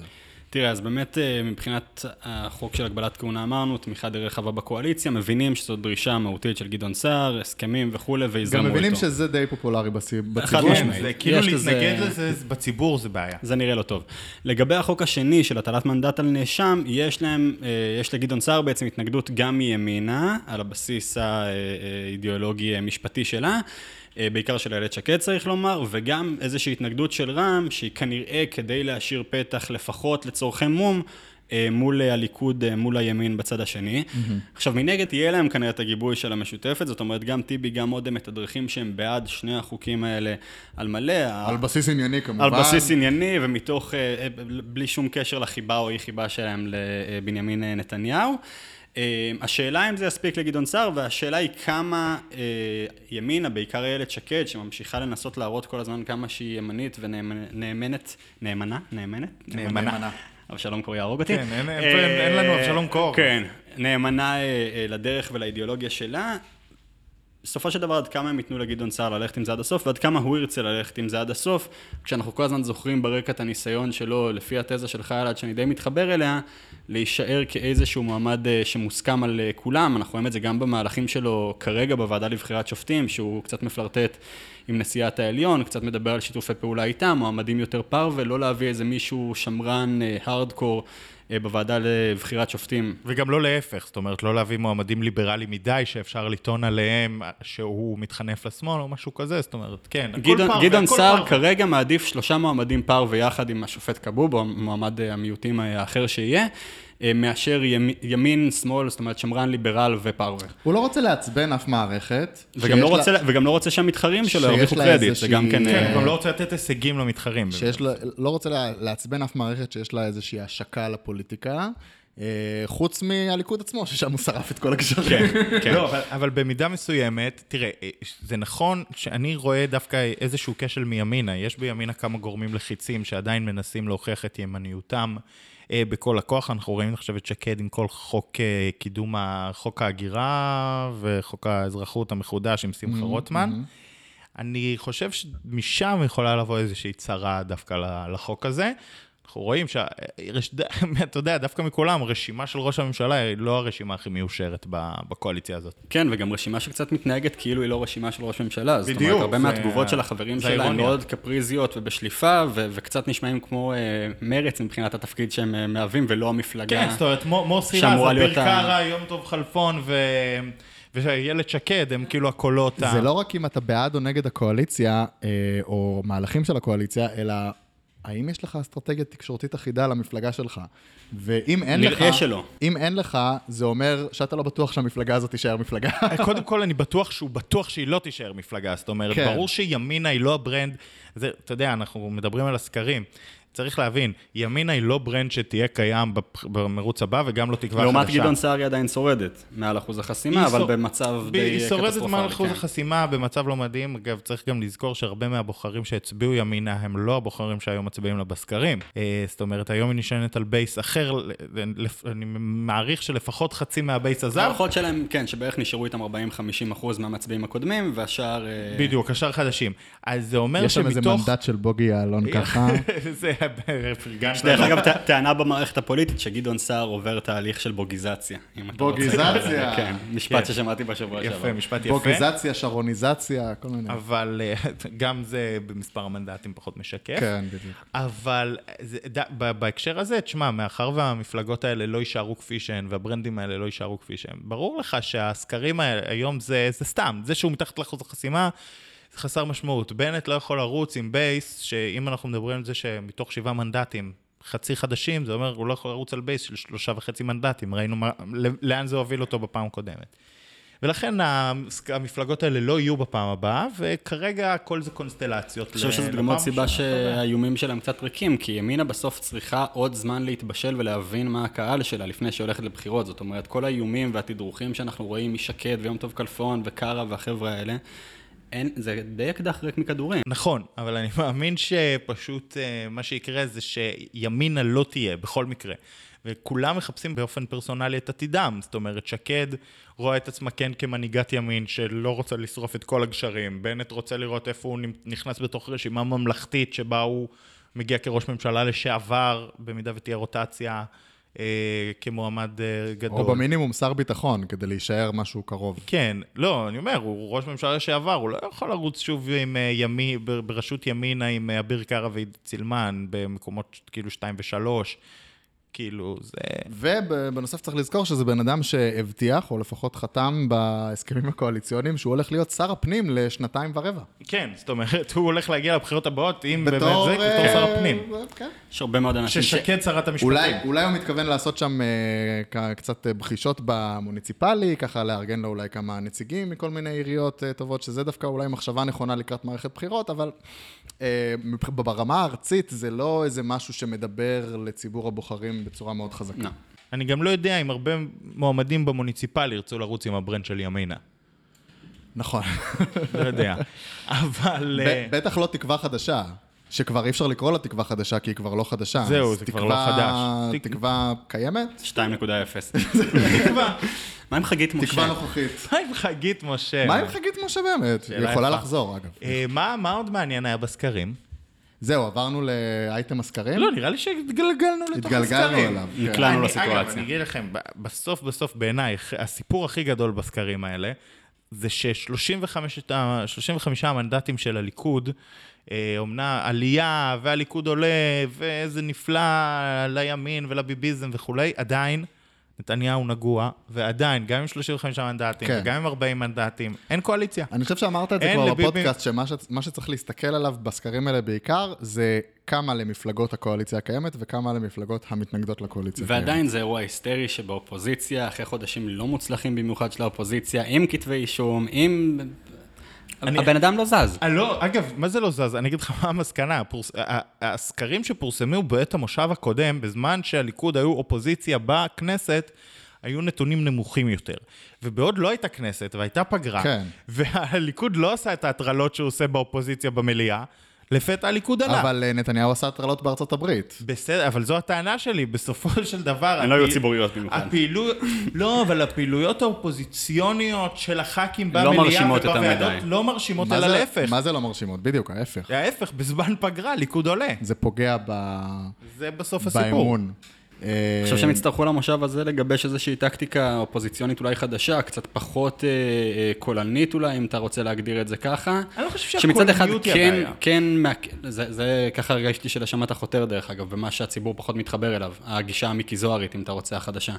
Speaker 3: תראה, אז באמת אה, מבחינת החוק של הגבלת כהונה אמרנו, תמיכה די רחבה בקואליציה, מבינים שזו דרישה מהותית של גדעון סער, הסכמים וכולי,
Speaker 1: גם
Speaker 3: ויזרמו איתו.
Speaker 1: מבינים שזה די פופולרי בצי-
Speaker 3: חד
Speaker 1: בציבור.
Speaker 2: כן,
Speaker 3: משמעית.
Speaker 2: זה כאילו
Speaker 3: יש לזה-
Speaker 2: להתנגד לזה בציבור זה בעיה.
Speaker 3: זה נראה לא טוב. לגבי החוק השני של הטלת מנדט על נאשם, יש להם, אה, יש לגדעון סער בעצם התנגדות גם מימינה, על הבסיס האידיאולוגי-משפטי שלה, אה, בעיקר של איילת שקד צריך לומר, וגם איזושהי התנגדות של רע"מ, שהיא כנראה כדי להשאיר פתח לפחות לצורכי מום. אה, מול אה, הליכוד, אה, מול הימין בצד השני. עכשיו, מנגד יהיה להם כנראה את הגיבוי של המשותפת, זאת אומרת, גם טיבי, גם אודם מתדרכים שהם בעד שני החוקים האלה על מלא.
Speaker 1: על בסיס ענייני כמובן.
Speaker 3: על בסיס ענייני ומתוך, אה, אה, בלי שום קשר לחיבה או אי חיבה שלהם לבנימין אה, נתניהו. אה, השאלה אם זה יספיק לגדעון סער, והשאלה היא כמה אה, ימינה, בעיקר איילת שקד, שממשיכה לנסות להראות כל הזמן כמה שהיא ימנית ונאמנת, נאמנה? נאמנת?
Speaker 2: נאמנה.
Speaker 3: אבשלום קור יהרוג אותי.
Speaker 2: כן, אין- אין- אין לנו
Speaker 3: אה,
Speaker 2: אבשלום קור.
Speaker 3: כן, נאמנה אה, אה, לדרך ולאידיאולוגיה שלה, בסופו של דבר, עד כמה הם ייתנו לגדעון סער ללכת עם זה עד הסוף, ועד כמה הוא ירצה ללכת עם זה עד הסוף, כשאנחנו כל הזמן זוכרים ברקע את הניסיון שלו, לפי התזה שלך, אלעד, שאני די מתחבר אליה, להישאר כאיזשהו מועמד אה, שמוסכם על אה, כולם. אנחנו רואים את זה גם במהלכים שלו כרגע בוועדה לבחירת שופטים, שהוא קצת מפלרטט עם נשיאת העליון, קצת מדבר על שיתופי פעולה איתם, מועמדים יותר פר, ולא להביא איזה מישהו שמרן, אה, הארדקור, אה, בוועדה לבחירת שופטים.
Speaker 2: וגם לא להפך, זאת אומרת, לא להביא מועמדים ליברליים מדי, שאפשר לטעון עליהם שהוא מתחנף לשמאל או משהו כזה, זאת אומרת, כן, הכל
Speaker 3: גדעון-
Speaker 2: פרווה,
Speaker 3: גדעון
Speaker 2: הכל
Speaker 3: סער
Speaker 2: פרווה.
Speaker 3: כרגע מעדיף שלושה מועמדים פר ויחד עם השופט כבוב, או מועמד אה, המיעוטים האחר שיהיה, אה, מאשר ימי- ימין, שמאל, זאת אומרת שמרן, ליברל ופרווה.
Speaker 1: הוא לא רוצה לעצבן אף מערכת.
Speaker 3: וגם לא
Speaker 1: שיש לה-
Speaker 3: רוצה- וגם לא רוצה שהמתחרים שלו
Speaker 1: שיש
Speaker 3: ירוויחו
Speaker 1: לה
Speaker 3: קרדיט, זה
Speaker 1: איזושהי-
Speaker 3: גם כן...
Speaker 2: כן,
Speaker 3: אה,
Speaker 2: הוא גם לא רוצה לתת הישגים למתחרים.
Speaker 1: שיש לה, לא רוצה לה- לעצבן אף מערכת שיש לה איזושהי השקה לפוליטיקה, אה, חוץ מהליכוד עצמו, ששם הוא שרף את כל הקשרים.
Speaker 3: כן,
Speaker 2: [laughs]
Speaker 3: כן.
Speaker 2: לא, אבל, אבל במידה מסוימת, תראה, אה, זה נכון שאני רואה דווקא איזשהו כשל מימינה. יש בימינה כמה גורמים לחיצים שעדיין מנסים להוכיח את ימניותם אה, בכל הכוח. אנחנו רואים עכשיו את שקד עם כל חוק אה, קידום, ה- חוק ההגירה וחוק האזרחות המחודש עם שמחה רוטמן. אני חושב שמשם יכולה לבוא איזושהי צרה דווקא ל- לחוק הזה. אנחנו רואים שה... אה, רש- [laughs] אתה יודע, דווקא מכולם, רשימה של ראש הממשלה היא לא הרשימה הכי מיושרת ב- בקואליציה הזאת.
Speaker 3: כן, וגם רשימה שקצת מתנהגת כאילו היא לא רשימה של ראש ממשלה. זאת
Speaker 2: בדיוק,
Speaker 3: אומרת, הרבה
Speaker 2: זה-
Speaker 3: מהתגובות של החברים
Speaker 2: זה
Speaker 3: שלה הן
Speaker 2: האירוניה.
Speaker 3: מאוד קפריזיות ובשליפה, ו- וקצת נשמעים כמו אה, מרץ מבחינת התפקיד שהם אה, מהווים, ולא המפלגה.
Speaker 2: כן, זאת אומרת, מור- מוסי רז,
Speaker 3: שאמורה
Speaker 2: אביר
Speaker 3: להיות ה-
Speaker 2: קארה, יום טוב חלפון ו... ואיילת שקד, הם כאילו הקולות
Speaker 1: [laughs]
Speaker 3: כן.
Speaker 1: לא-
Speaker 2: ה...
Speaker 1: זה לא רק אם אתה בעד או נגד הקואליציה, אה, או מהלכים של הקואליציה, אלא האם יש לך אסטרטגיה תקשורתית אחידה למפלגה שלך? ואם אין לך...
Speaker 3: נראה שלא.
Speaker 1: אם אין לך, זה אומר שאתה לא בטוח שהמפלגה הזאת תישאר
Speaker 3: [laughs]
Speaker 1: מפלגה.
Speaker 2: אה, קודם כל, אני בטוח שהוא בטוח שהיא לא תישאר מפלגה. זאת אומרת,
Speaker 1: כן.
Speaker 2: ברור שימינה היא לא הברנד, זה, אתה יודע, אנחנו מדברים על הסקרים. צריך להבין, ימינה היא לא ברנד שתהיה קיים בפ- במרוץ הבא וגם לא תקווה חדשה.
Speaker 3: לעומת גדעון סער היא עדיין שורדת מעל אחוז החסימה,
Speaker 2: היא
Speaker 3: אבל
Speaker 2: שור-
Speaker 3: במצב די קטסטרופלי.
Speaker 2: היא שורדת מעל אחוז
Speaker 3: כן.
Speaker 2: החסימה במצב לא מדהים. אגב, צריך גם לזכור שהרבה מהבוחרים שהצביעו ימינה הם לא הבוחרים שהיו מצביעים לה בסקרים. אה, זאת אומרת, היום היא נשענת על בייס אחר, ל- לפ- אני מעריך שלפחות חצי מהבייס עזב.
Speaker 3: ההערכות שלהם, כן, שבערך נשארו איתם 40-50 אחוז מהמצביעים הקודמים, והשאר... אה,
Speaker 2: בדיוק, השאר חדשים. אז זה אומר
Speaker 1: יש שם איזה
Speaker 2: שמתוך...
Speaker 1: מנדט של בוגי
Speaker 3: [laughs]
Speaker 1: יעלון ככה.
Speaker 2: [laughs] זה פרגנת
Speaker 3: דרך
Speaker 2: לו.
Speaker 3: [laughs] אגב, ט- טענה במערכת הפוליטית שגדעון סער עובר תהליך של בוגיזציה. אם אתה רוצה.
Speaker 1: בוגיזציה.
Speaker 3: כן,
Speaker 2: כן.
Speaker 3: משפט ששמעתי בשבוע שעבר.
Speaker 2: יפה, משפט יפה.
Speaker 1: בוגיזציה, שרוניזציה, כל מיני.
Speaker 2: אבל אה, [laughs] גם זה במספר המנדטים פחות משקף.
Speaker 1: כן, בדיוק.
Speaker 2: אבל זה, ד, ב, בהקשר הזה, תשמע, מאחר והמפלגות האלה לא יישארו כפי שהן, והברנדים האלה לא יישארו כפי שהן, ברור לך שהסקרים האלה היום זה, זה סתם, זה שהוא מתחת לאחוז החסימה, זה חסר משמעות. בנט לא יכול לרוץ עם בייס, שאם אנחנו מדברים על זה שמתוך שבעה מנדטים, חצי חדשים, זה אומר, הוא לא יכול לרוץ על בייס של שלושה וחצי מנדטים, ראינו מה, לאן זה הוביל אותו בפעם הקודמת. ולכן המס- המפלגות האלה לא יהיו בפעם הבאה, וכרגע הכל זה קונסטלציות.
Speaker 3: אני חושב נכון, שזו לא
Speaker 2: לפעם
Speaker 3: גם עוד סיבה
Speaker 2: הראשונה. אתה יודע.
Speaker 3: שהאיומים שלהם קצת ריקים, כי ימינה בסוף צריכה עוד זמן להתבשל ולהבין מה הקהל שלה לפני שהיא הולכת לבחירות. זאת אומרת, כל האיומים והתדרוכים שאנחנו רואים משקד ויום טוב כלפון וקארה והחבר'ה האלה, אין, זה די אקדח ריק מכדורים.
Speaker 2: נכון, אבל אני מאמין שפשוט אה, מה שיקרה זה שימינה לא תהיה, בכל מקרה. וכולם מחפשים באופן פרסונלי את עתידם. זאת אומרת, שקד רואה את עצמה כן כמנהיגת ימין שלא רוצה לשרוף את כל הגשרים. בנט רוצה לראות איפה הוא נכנס בתוך רשימה ממלכתית שבה הוא מגיע כראש ממשלה לשעבר, במידה ותהיה רוטציה אה, כמועמד אה, גדול.
Speaker 1: או במינימום שר ביטחון, כדי להישאר משהו קרוב.
Speaker 2: כן, לא, אני אומר, הוא ראש ממשלה לשעבר, הוא לא יכול לרוץ שוב עם אה, ימי, ב- בראשות ימינה עם אה, אביר קארה ועידית סילמן, במקומות כאילו שתיים ושלוש. כאילו, זה...
Speaker 1: ובנוסף צריך לזכור שזה בן אדם שהבטיח, או לפחות חתם בהסכמים הקואליציוניים, שהוא הולך להיות שר הפנים לשנתיים ורבע.
Speaker 2: כן, זאת אומרת, הוא הולך להגיע לבחירות הבאות, אם באמת
Speaker 1: בתור,
Speaker 2: זה, בתור שר
Speaker 1: אה,
Speaker 2: הפנים.
Speaker 1: כן.
Speaker 3: יש הרבה מאוד אנשים ש...
Speaker 2: ששקד שרת המשפטים.
Speaker 1: אולי, אולי הוא מתכוון לעשות שם אה, כ- קצת אה, בחישות במוניציפלי, ככה לארגן לו אולי כמה נציגים מכל מיני עיריות אה, טובות, שזה דווקא אולי מחשבה נכונה לקראת מערכת בחירות, אבל אה, מבח- ברמה הארצית זה לא איזה משהו שמדבר לציבור הבוחרים בצורה מאוד חזקה.
Speaker 3: לא.
Speaker 2: אני גם לא יודע אם הרבה מועמדים במוניציפלי ירצו לרוץ עם הברנד של ימינה.
Speaker 1: נכון.
Speaker 2: לא
Speaker 1: [laughs]
Speaker 2: יודע. אבל... אה,
Speaker 1: ב- בטח לא תקווה חדשה. שכבר אי אפשר לקרוא לה תקווה חדשה, כי היא כבר לא חדשה.
Speaker 2: זהו,
Speaker 1: אז
Speaker 2: זה כבר לא
Speaker 1: תקווה-
Speaker 2: חדש. כן.
Speaker 1: תקווה קיימת?
Speaker 3: [laughs] 2.0.
Speaker 2: תקווה.
Speaker 3: מה עם חגית משה?
Speaker 1: תקווה נוכחית.
Speaker 2: [laughs] מה עם חגית משה?
Speaker 1: מה עם חגית משה באמת? היא
Speaker 2: כן. שאלה
Speaker 1: יכולה
Speaker 2: יפה.
Speaker 1: לחזור, אגב.
Speaker 2: אה, מה מה עוד מעניין היה בסקרים?
Speaker 1: זהו, עברנו לאייטם הסקרים?
Speaker 2: לא, נראה לי שהתגלגלנו לתוך הסקרים.
Speaker 1: התגלגלנו אליו. כן.
Speaker 3: נקלע. נקלענו
Speaker 2: אני-
Speaker 3: לסיטואציה.
Speaker 2: אגב, אני אגיד לכם, ב- בסוף בסוף בעיניי, ח- הסיפור הכי גדול בסקרים האלה, זה ש-35 המנדטים של הליכוד, אה, אומנה עלייה, והליכוד עולה, ואיזה נפלא לימין ולביביזם וכולי, עדיין נתניהו נגוע, ועדיין, גם עם 35 מנדטים,
Speaker 1: כן.
Speaker 2: וגם עם 40 מנדטים, אין קואליציה.
Speaker 1: אני חושב שאמרת את זה
Speaker 2: אין
Speaker 1: כבר
Speaker 2: לביבי-
Speaker 1: בפודקאסט, שמה ש- מה שצריך להסתכל עליו בסקרים האלה בעיקר, זה כמה למפלגות הקואליציה הקיימת וכמה למפלגות המתנגדות לקואליציה הקיימת.
Speaker 3: ועדיין זה אירוע היסטרי שבאופוזיציה, אחרי חודשים לא מוצלחים במיוחד של האופוזיציה, עם כתבי אישום, עם...
Speaker 2: אני-
Speaker 3: הבן אדם לא זז.
Speaker 2: אה, לא, אגב, מה זה לא זז? אני אגיד לך מה המסקנה. הפורס... ה- ה- הסקרים שפורסמו בעת המושב הקודם, בזמן שהליכוד היו אופוזיציה בכנסת, היו נתונים נמוכים יותר. ובעוד לא הייתה כנסת והייתה פגרה,
Speaker 1: כן.
Speaker 2: והליכוד לא עשה את ההטרלות שהוא עושה באופוזיציה במליאה, לפתע הליכוד עלה.
Speaker 1: אבל אה, נתניהו עשה הטרלות בארצות הברית.
Speaker 2: בסדר, אבל זו הטענה שלי, בסופו [laughs] של דבר...
Speaker 3: הן לא היו
Speaker 2: הפעיל-
Speaker 3: ציבוריות במיוחד.
Speaker 2: הפעילויות, לא, אבל הפעילויות האופוזיציוניות של הח"כים
Speaker 3: לא
Speaker 2: במליאה
Speaker 3: מרשימות אותם
Speaker 2: ובוועדות
Speaker 3: מדי.
Speaker 2: לא מרשימות,
Speaker 1: מה
Speaker 2: אלא
Speaker 1: זה-
Speaker 2: להפך.
Speaker 1: מה זה לא מרשימות? בדיוק, ההפך.
Speaker 2: ההפך, בזמן פגרה, ליכוד עולה.
Speaker 1: זה פוגע ב-
Speaker 2: זה בסוף הסיפור.
Speaker 1: באמון. אה,
Speaker 3: אני חושב שהם יצטרכו למושב הזה לגבש איזושהי טקטיקה אופוזיציונית אולי חדשה, קצת פחות אה, אה, קולנית אולי, אם אתה רוצה להגדיר את זה ככה.
Speaker 2: אני לא חושב
Speaker 3: שמצד אחד
Speaker 2: שהקולניות היא
Speaker 3: כן,
Speaker 2: הבעיה.
Speaker 3: כן, מה- זה, זה ככה הרגשתי של האשמת החותר דרך אגב, במה שהציבור פחות מתחבר אליו, הגישה המיקי זוהרית, אם אתה רוצה, החדשה.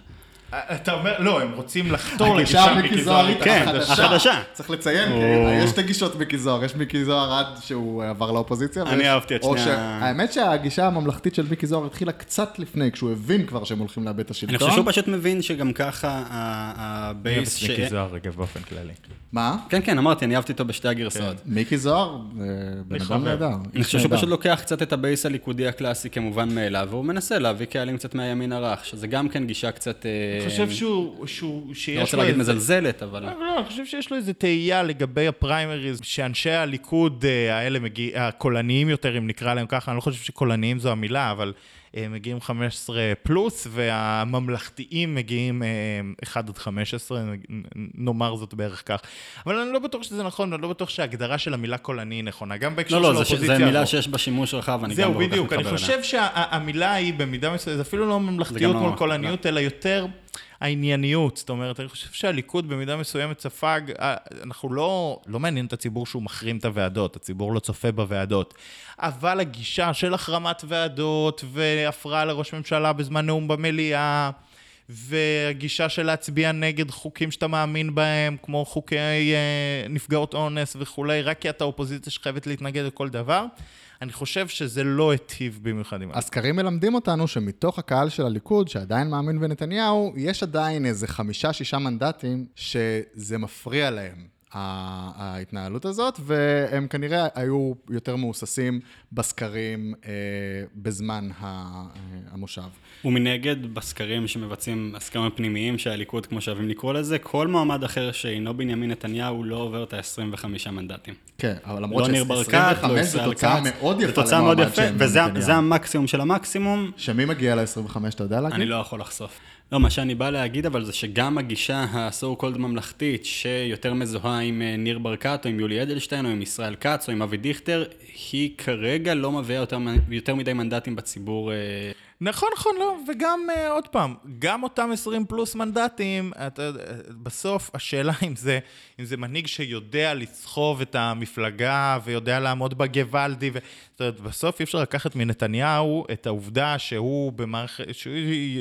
Speaker 2: אתה אומר, לא, הם רוצים לחתור
Speaker 1: הגישה
Speaker 2: לגישה מיקי זוהר.
Speaker 1: המיקי-זוהרית
Speaker 3: כן, החדשה.
Speaker 1: צריך לציין, כי יש שתי גישות מיקי זוהר, יש מיקי זוהר עד שהוא עבר לאופוזיציה.
Speaker 3: אני
Speaker 1: ויש-
Speaker 3: אהבתי את
Speaker 1: או
Speaker 3: שני
Speaker 1: ש-
Speaker 3: ה-
Speaker 1: האמת שהגישה הממלכתית של מיקי זוהר התחילה קצת לפני, כשהוא הבין כבר שהם הולכים לאבד את
Speaker 3: אני חושב שהוא
Speaker 1: השלטון.
Speaker 3: פשוט מבין שגם ככה ה- הבייס ש...
Speaker 2: מיקי זוהר, אגב, באופן כללי.
Speaker 1: מה?
Speaker 3: כן, כן, אמרתי, אני אהבתי אותו בשתי הגרסאות.
Speaker 2: כן.
Speaker 1: מיקי זוהר, אה, בן
Speaker 2: מחבב.
Speaker 1: אדם נהדר.
Speaker 3: אני
Speaker 1: איש
Speaker 3: חושב שהוא
Speaker 1: נהדר.
Speaker 3: פשוט לא לוקח קצת את הבייס הליכודי הקלאסי כמובן מאליו, והוא מנסה להביא קהלים קצת מהימין הרך, שזה גם כן גישה קצת... אה,
Speaker 2: אני חושב שהוא, שהוא, שיש
Speaker 3: לא
Speaker 2: לו
Speaker 3: רוצה להגיד
Speaker 2: איזה-
Speaker 3: מזלזלת, אבל...
Speaker 2: לא, אני חושב שיש לו איזו תהייה לגבי הפריימריז, שאנשי הליכוד אה, האלה, מגיע- הקולניים יותר, אם נקרא להם ככה, אני לא חושב שקולניים זו המילה, אבל אה, מגיעים 15 פלוס, והממלכתיים מגיעים אה, 1 עד 15, נ- נ- נאמר זאת בערך כך. אבל אני לא בטוח שזה נכון, אני לא בטוח שההגדרה של המילה קולני היא נכונה, גם בהקשר
Speaker 3: לא,
Speaker 2: של
Speaker 3: לא, זה ש-
Speaker 2: האופוזיציה.
Speaker 3: זה מילה
Speaker 2: לא.
Speaker 3: שיש בה שימוש רחב, אני גם לא
Speaker 2: זהו,
Speaker 3: כל כך
Speaker 2: בדיוק.
Speaker 3: מתחבר
Speaker 2: אני
Speaker 3: אליה.
Speaker 2: חושב שהמילה היא במידה מסוימת, זה אפילו לא ממלכתיות
Speaker 3: לא
Speaker 2: מול
Speaker 3: ממלכתי,
Speaker 2: קולניות, אלא יותר הענייניות. זאת אומרת, אני חושב שהליכוד במידה מסוימת ספג, אה, אנחנו לא, לא מעניין את הציבור שהוא מחרים את הוועדות, הציבור לא צופה בוועדות. אבל הגישה של החרמת ועדות והפרעה לראש ממשלה בזמן נאום במליאה, והגישה של להצביע נגד חוקים שאתה מאמין בהם, כמו חוקי אה, נפגעות אונס וכולי, רק כי אתה אופוזיציה שחייבת להתנגד לכל דבר, אני חושב שזה לא היטיב במיוחד עם...
Speaker 1: הסקרים מלמדים אותנו שמתוך הקהל של הליכוד, שעדיין מאמין בנתניהו, יש עדיין איזה חמישה-שישה מנדטים שזה מפריע להם, ה- ההתנהלות הזאת, והם כנראה היו יותר מהוססים בסקרים אה, בזמן ה- אה, המושב.
Speaker 3: ומנגד, בסקרים שמבצעים הסקרים הפנימיים של הליכוד, כמו שאוהבים לקרוא לזה, כל מועמד אחר שאינו בנימין נתניהו לא עובר את ה-25 מנדטים.
Speaker 1: כן, אבל למרות
Speaker 3: לא ניר ברקת, לא
Speaker 1: זו
Speaker 3: ישראל
Speaker 1: תוצאה
Speaker 3: כץ.
Speaker 1: מאוד
Speaker 3: זו
Speaker 1: יפה
Speaker 3: תוצאה מאוד
Speaker 1: למועמד
Speaker 3: יפה,
Speaker 1: שהם
Speaker 3: וזה
Speaker 1: נתניהו.
Speaker 3: זה המקסימום של המקסימום,
Speaker 1: שמי מגיע ל-25, אתה יודע להגיד?
Speaker 3: אני לא יכול לחשוף. לא, מה שאני בא להגיד אבל זה שגם הגישה ה-so called ממלכתית, שיותר מזוהה עם אה, ניר ברקת או עם יולי אדלשטיין או עם ישראל כץ או עם אבי דיכטר, היא כרגע לא מביאה יותר, מ- יותר מדי מנדטים בציבור. אה,
Speaker 2: נכון, נכון, לא, וגם אה, עוד פעם, גם אותם 20 פלוס מנדטים, אתה, יודע, בסוף השאלה אם זה, אם זה מנהיג שיודע לסחוב את המפלגה ויודע לעמוד בגוואלדי, ו... זאת אומרת, בסוף אי אפשר לקחת מנתניהו את העובדה שהוא במערכת, שהוא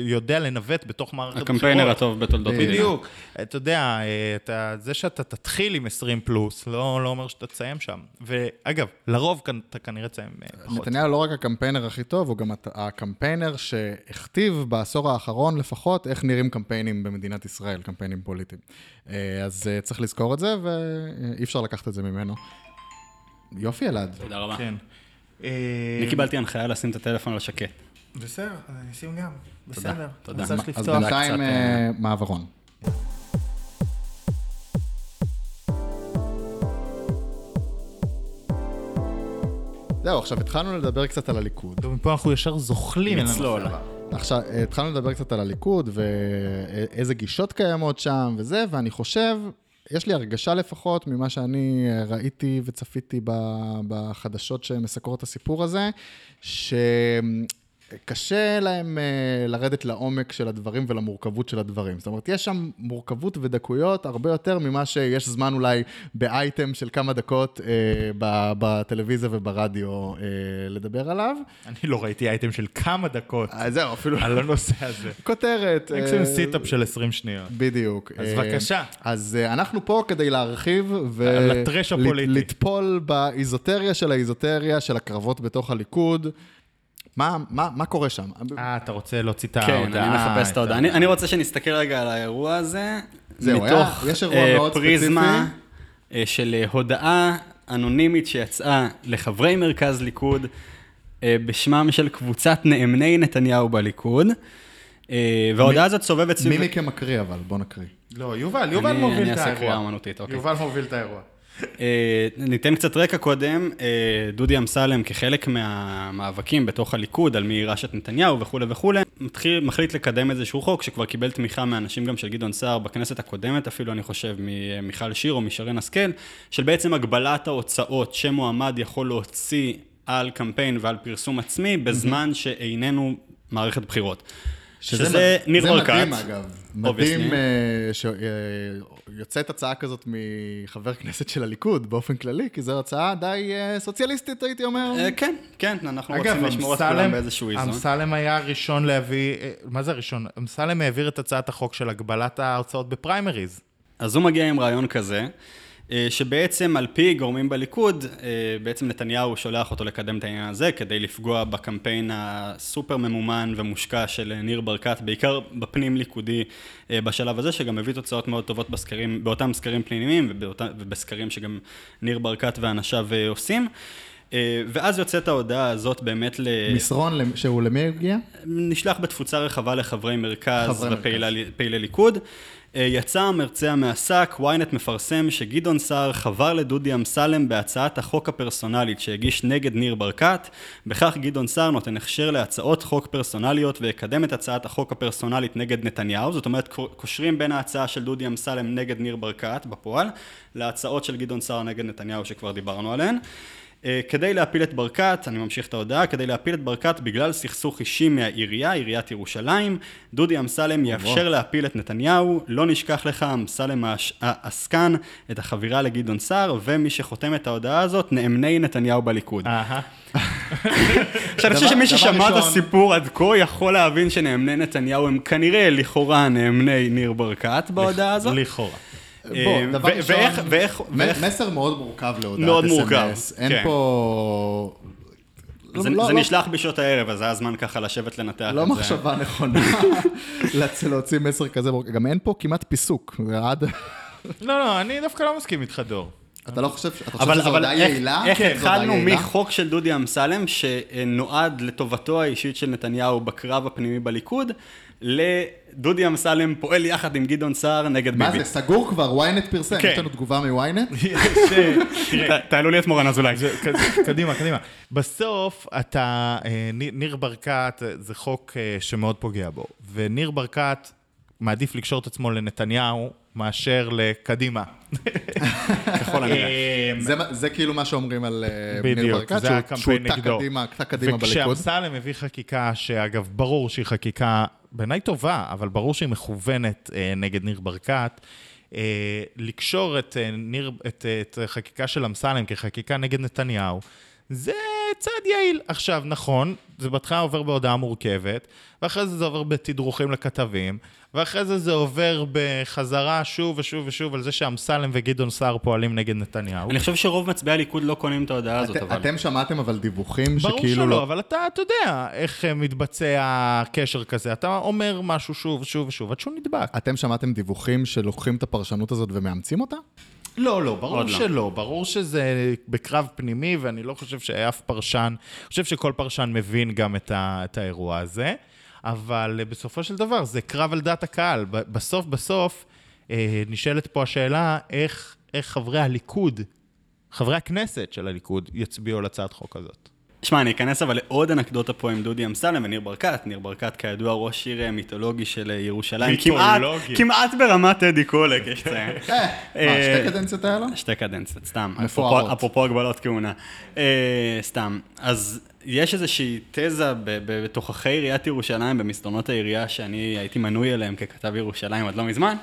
Speaker 2: יודע לנווט בתוך מערכת
Speaker 3: הקמפיינר
Speaker 2: בחירות.
Speaker 3: הטוב בתולדות המדינה.
Speaker 2: בדיוק. אתה יודע, אה, אתה, זה שאתה תתחיל עם 20 פלוס, לא, לא אומר שאתה תסיים שם. ואגב, לרוב כאן- אתה כנראה תסיים אה, פחות.
Speaker 1: נתניהו לא רק הקמפיינר הכי טוב, הוא גם הת- הקמפיינר שהכתיב בעשור האחרון לפחות איך נראים קמפיינים במדינת ישראל, קמפיינים פוליטיים. אה, אז אה, צריך לזכור את זה, ואי אפשר לקחת את זה ממנו. יופי, אלעד.
Speaker 3: תודה רבה.
Speaker 2: כן.
Speaker 3: אני קיבלתי הנחיה לשים את הטלפון על שקט.
Speaker 2: בסדר, אז אני אשים גם.
Speaker 3: בסדר. תודה.
Speaker 2: אני צריך
Speaker 1: מה- אז
Speaker 2: לפתוח.
Speaker 1: בינתיים
Speaker 3: קצת, אה,
Speaker 1: אה, מעברון. זהו, עכשיו התחלנו לדבר קצת על הליכוד.
Speaker 2: ומפה אנחנו ישר זוחלים. אל
Speaker 3: נצלול.
Speaker 2: הנושא הבא.
Speaker 1: עכשיו, אה, התחלנו לדבר קצת על הליכוד ואיזה גישות קיימות שם וזה, ואני חושב, יש לי הרגשה לפחות ממה שאני אה, ראיתי וצפיתי ב- בחדשות שמסקרות את הסיפור הזה, שקשה להם אה, לרדת לעומק של הדברים ולמורכבות של הדברים. זאת אומרת, יש שם מורכבות ודקויות הרבה יותר ממה שיש זמן אולי באייטם של כמה דקות אה, ב- בטלוויזיה וברדיו אה, לדבר עליו.
Speaker 2: אני לא ראיתי אייטם של כמה דקות
Speaker 3: אה.
Speaker 1: אז אה, זהו, אפילו...
Speaker 2: על הנושא הזה.
Speaker 1: כותרת. אה,
Speaker 2: מקסימום סיטאפ של 20 שניות.
Speaker 1: בדיוק.
Speaker 2: אז
Speaker 1: אה,
Speaker 2: בבקשה.
Speaker 1: אז אה, אנחנו פה כדי להרחיב ו...
Speaker 2: על הטרש
Speaker 1: לט-
Speaker 2: הפוליטי.
Speaker 1: לטפול באיזוטריה של האיזוטריה של הקרבות בתוך הליכוד. מה, מה, מה קורה שם?
Speaker 2: אה, אתה רוצה להוציא את ההודעה?
Speaker 3: כן, אני מחפש את ההודעה. אני-
Speaker 2: ה-
Speaker 3: אני רוצה שנסתכל רגע על האירוע הזה,
Speaker 1: זהו, היה-
Speaker 3: מתוך
Speaker 1: יש אירוע
Speaker 3: אה,
Speaker 1: מאוד
Speaker 3: פריזמה אה, של אה, הודעה אנונימית שיצאה לחברי מרכז ליכוד אה, בשמם של קבוצת נאמני נתניהו בליכוד. אה, וההודעה הזאת סובבת סביב...
Speaker 1: מי מכם מקריא אבל? בוא נקריא.
Speaker 2: לא, יובל, יובל
Speaker 3: אני-
Speaker 2: מוביל
Speaker 3: אני
Speaker 2: את
Speaker 3: אעשה קריאה
Speaker 2: האירוע.
Speaker 3: אומנותית, אוקיי.
Speaker 2: יובל מוביל את האירוע.
Speaker 3: אה, ניתן קצת רקע קודם. אה, דודי אמסלם, כחלק מהמאבקים בתוך הליכוד על מי יירש את נתניהו וכולי וכולי, מתחיל- מחליט לקדם איזשהו חוק שכבר קיבל תמיכה מאנשים גם של גדעון סער בכנסת הקודמת, אפילו אני חושב ממיכל שיר או משרן השכל, של בעצם הגבלת ההוצאות שמועמד יכול להוציא על קמפיין ועל פרסום עצמי בזמן שאיננו מערכת בחירות. שזה ניר ברקת.
Speaker 1: זה מדהים, אגב. מדהים אה,
Speaker 3: Obviously.
Speaker 1: שיוצאת הצעה כזאת מחבר כנסת של הליכוד באופן כללי, כי זו הצעה די אה, סוציאליסטית, הייתי אומר.
Speaker 3: אה, כן, כן, אנחנו רוצים
Speaker 2: אגב,
Speaker 3: לשמור את
Speaker 2: אמסלם-
Speaker 3: כולם באיזשהו איזון.
Speaker 2: אמסלם היה הראשון להביא, אה, מה זה הראשון? אמסלם העביר את הצעת החוק של הגבלת ההוצאות בפריימריז.
Speaker 3: אז הוא מגיע עם רעיון כזה, אה, שבעצם על פי גורמים בליכוד, אה, בעצם נתניהו שולח אותו לקדם את העניין הזה כדי לפגוע בקמפיין הסופר ממומן ומושקע של אה, ניר ברקת, בעיקר בפנים ליכודי אה, בשלב הזה, שגם הביא תוצאות מאוד טובות בסקרים, באותם סקרים פנימיים ובאותם, ובסקרים שגם ניר ברקת ואנשיו אה, עושים. אה, ואז יוצאת ההודעה הזאת באמת ל...
Speaker 1: מסרון, למ- שהוא למי הגיע?
Speaker 3: נשלח בתפוצה רחבה לחברי מרכז
Speaker 1: חברי מרכז.
Speaker 3: ופעילי ליכוד. אה, יצא המרצע מהשק, ynet מפרסם שגדעון סער חבר לדודי אמסלם בהצעת החוק הפרסונלית שהגיש נגד ניר ברקת, בכך גדעון סער נותן הכשר להצעות חוק פרסונליות ויקדם את הצעת החוק הפרסונלית נגד נתניהו, זאת אומרת קו- קושרים בין ההצעה של דודי אמסלם נגד ניר ברקת בפועל, להצעות של גדעון סער נגד נתניהו שכבר דיברנו עליהן. אה, כדי להפיל את ברקת, אני ממשיך את ההודעה, כדי להפיל את ברקת בגלל סכסוך אישי מהעירייה, עיריית ירושלים, דודי אמסלם יאפשר להפיל את נתניהו, לא נשכח לך, אמסלם העש- העסקן, את החבירה לגדעון סער, ומי שחותם את ההודעה הזאת, נאמני נתניהו בליכוד.
Speaker 2: אהה.
Speaker 3: עכשיו, אני חושב
Speaker 1: אה, דבר-
Speaker 3: שמי
Speaker 1: דבר
Speaker 3: ששמע את
Speaker 1: ראשון-
Speaker 3: הסיפור עד כה יכול להבין שנאמני נתניהו הם כנראה, לכאורה, נאמני ניר ברקת בהודעה הזאת. [laughs]
Speaker 2: לכאורה.
Speaker 1: בוא,
Speaker 3: אה,
Speaker 1: דבר
Speaker 3: ו-
Speaker 1: ראשון,
Speaker 3: ואיך- ואיך-
Speaker 1: מ-
Speaker 3: ואיך-
Speaker 1: מסר מאוד מורכב להודעת
Speaker 3: מאוד
Speaker 1: SMS.
Speaker 3: מורכב,
Speaker 1: אין
Speaker 3: כן.
Speaker 1: פה...
Speaker 3: זה
Speaker 1: לא-
Speaker 3: זה
Speaker 1: לא-
Speaker 3: נשלח בשעות הערב, אז זה הזמן ככה לשבת לנתח את זה.
Speaker 1: לא מחשבה
Speaker 3: [laughs]
Speaker 1: נכונה לצ- להוציא מסר כזה, מורכב. גם אין פה כמעט פיסוק, זה עד-
Speaker 2: לא, לא, אני דווקא לא מסכים איתך,
Speaker 3: [laughs]
Speaker 2: דור. [laughs]
Speaker 1: אתה לא חושב, אתה חושב
Speaker 3: אבל,
Speaker 1: שזו
Speaker 3: אבל
Speaker 1: הודעה
Speaker 3: איך,
Speaker 1: יעילה?
Speaker 3: איך
Speaker 1: כן, זו הודעה
Speaker 3: התחלנו
Speaker 1: יעילה.
Speaker 3: מחוק של דודי אמסלם, שנועד לטובתו האישית של נתניהו בקרב הפנימי בליכוד, לדודי אמסלם פועל יחד עם גדעון סער נגד
Speaker 1: מה
Speaker 3: ביבי.
Speaker 1: זה, סגור כבר, ynet פרסם,
Speaker 2: כן.
Speaker 1: יש לנו תגובה מ-ynet?
Speaker 3: כן. ת- [laughs] תעלו לי את מורן אזולאי.
Speaker 2: ק- קדימה, קדימה. בסוף אתה, אה, נ- ניר ברקת, אה, זה חוק אה, שמאוד פוגע בו, וניר ברקת מעדיף לקשור את עצמו לנתניהו מאשר לקדימה.
Speaker 3: ככל הנראה.
Speaker 2: אה,
Speaker 1: זה מה- זה כאילו מה שאומרים על אה, ניר
Speaker 2: בדיוק,
Speaker 1: ברקת,
Speaker 2: זה
Speaker 1: שהוא-
Speaker 2: הקמפיין
Speaker 1: שהוא
Speaker 2: נגדו.
Speaker 1: טה קדימה, טה קדימה בליכוד.
Speaker 2: וכשאמסלם הביא חקיקה, שאגב, ברור שהיא חקיקה בעיניי טובה, אבל ברור שהיא מכוונת אה, נגד ניר ברקת, אה, לקשור את, אה, ניר, את, אה, את החקיקה של אמסלם כחקיקה נגד נתניהו, זה צעד יעיל. עכשיו, נכון, זה בהתחלה עובר בהודעה מורכבת, ואחרי זה זה עובר בתדרוכים לכתבים, ואחרי זה זה עובר בחזרה שוב ושוב ושוב על זה שאמסלם וגדעון סער פועלים נגד נתניהו.
Speaker 3: אני חושב שרוב מצביעי הליכוד לא קונים את ההודעה הזאת,
Speaker 1: אתם-
Speaker 3: אבל...
Speaker 1: אתם שמעתם אבל דיווחים
Speaker 2: ברור
Speaker 1: שכאילו
Speaker 2: שלא,
Speaker 1: לא...
Speaker 2: אבל אתה, אתה יודע איך אה, מתבצע קשר כזה. אתה אומר משהו שוב, שוב, שוב, עד שהוא נדבק.
Speaker 1: אתם שמעתם דיווחים שלוקחים את הפרשנות הזאת ומאמצים אותה?
Speaker 2: לא, לא, ברור
Speaker 3: עוד לא.
Speaker 2: שלא. לא. ברור שזה בקרב פנימי, ואני לא חושב שאף פרשן, אני חושב שכל פרשן מבין גם את, ה, את האירוע הזה, אבל אה, בסופו של דבר זה קרב על דעת הקהל. ב- בסוף בסוף אה, נשאלת פה השאלה איך, איך חברי הליכוד, חברי הכנסת של הליכוד, יצביעו על הצעת חוק הזאת.
Speaker 3: שמע, אני אכנס אבל לעוד אנקדוטה פה עם דודי אמסלם וניר ברקת. ניר ברקת, כידוע, ראש עיר אה, מיתולוגי של אה, ירושלים. כמעט,
Speaker 2: מיתולוגי.
Speaker 3: כמעט ברמת טדי קולק, יש לציין.
Speaker 1: אה, מה, שתי קדנציות היה לו?
Speaker 3: שתי קדנציות, סתם.
Speaker 1: מפוארות.
Speaker 3: אפרופו- אפרופו הגבלות כהונה. אה, סתם. אז יש איזושהי תזה ב- ב- בתוככי עיריית ירושלים, במסדרונות העירייה שאני הייתי מנוי אליהם ככתב ירושלים עד לא מזמן,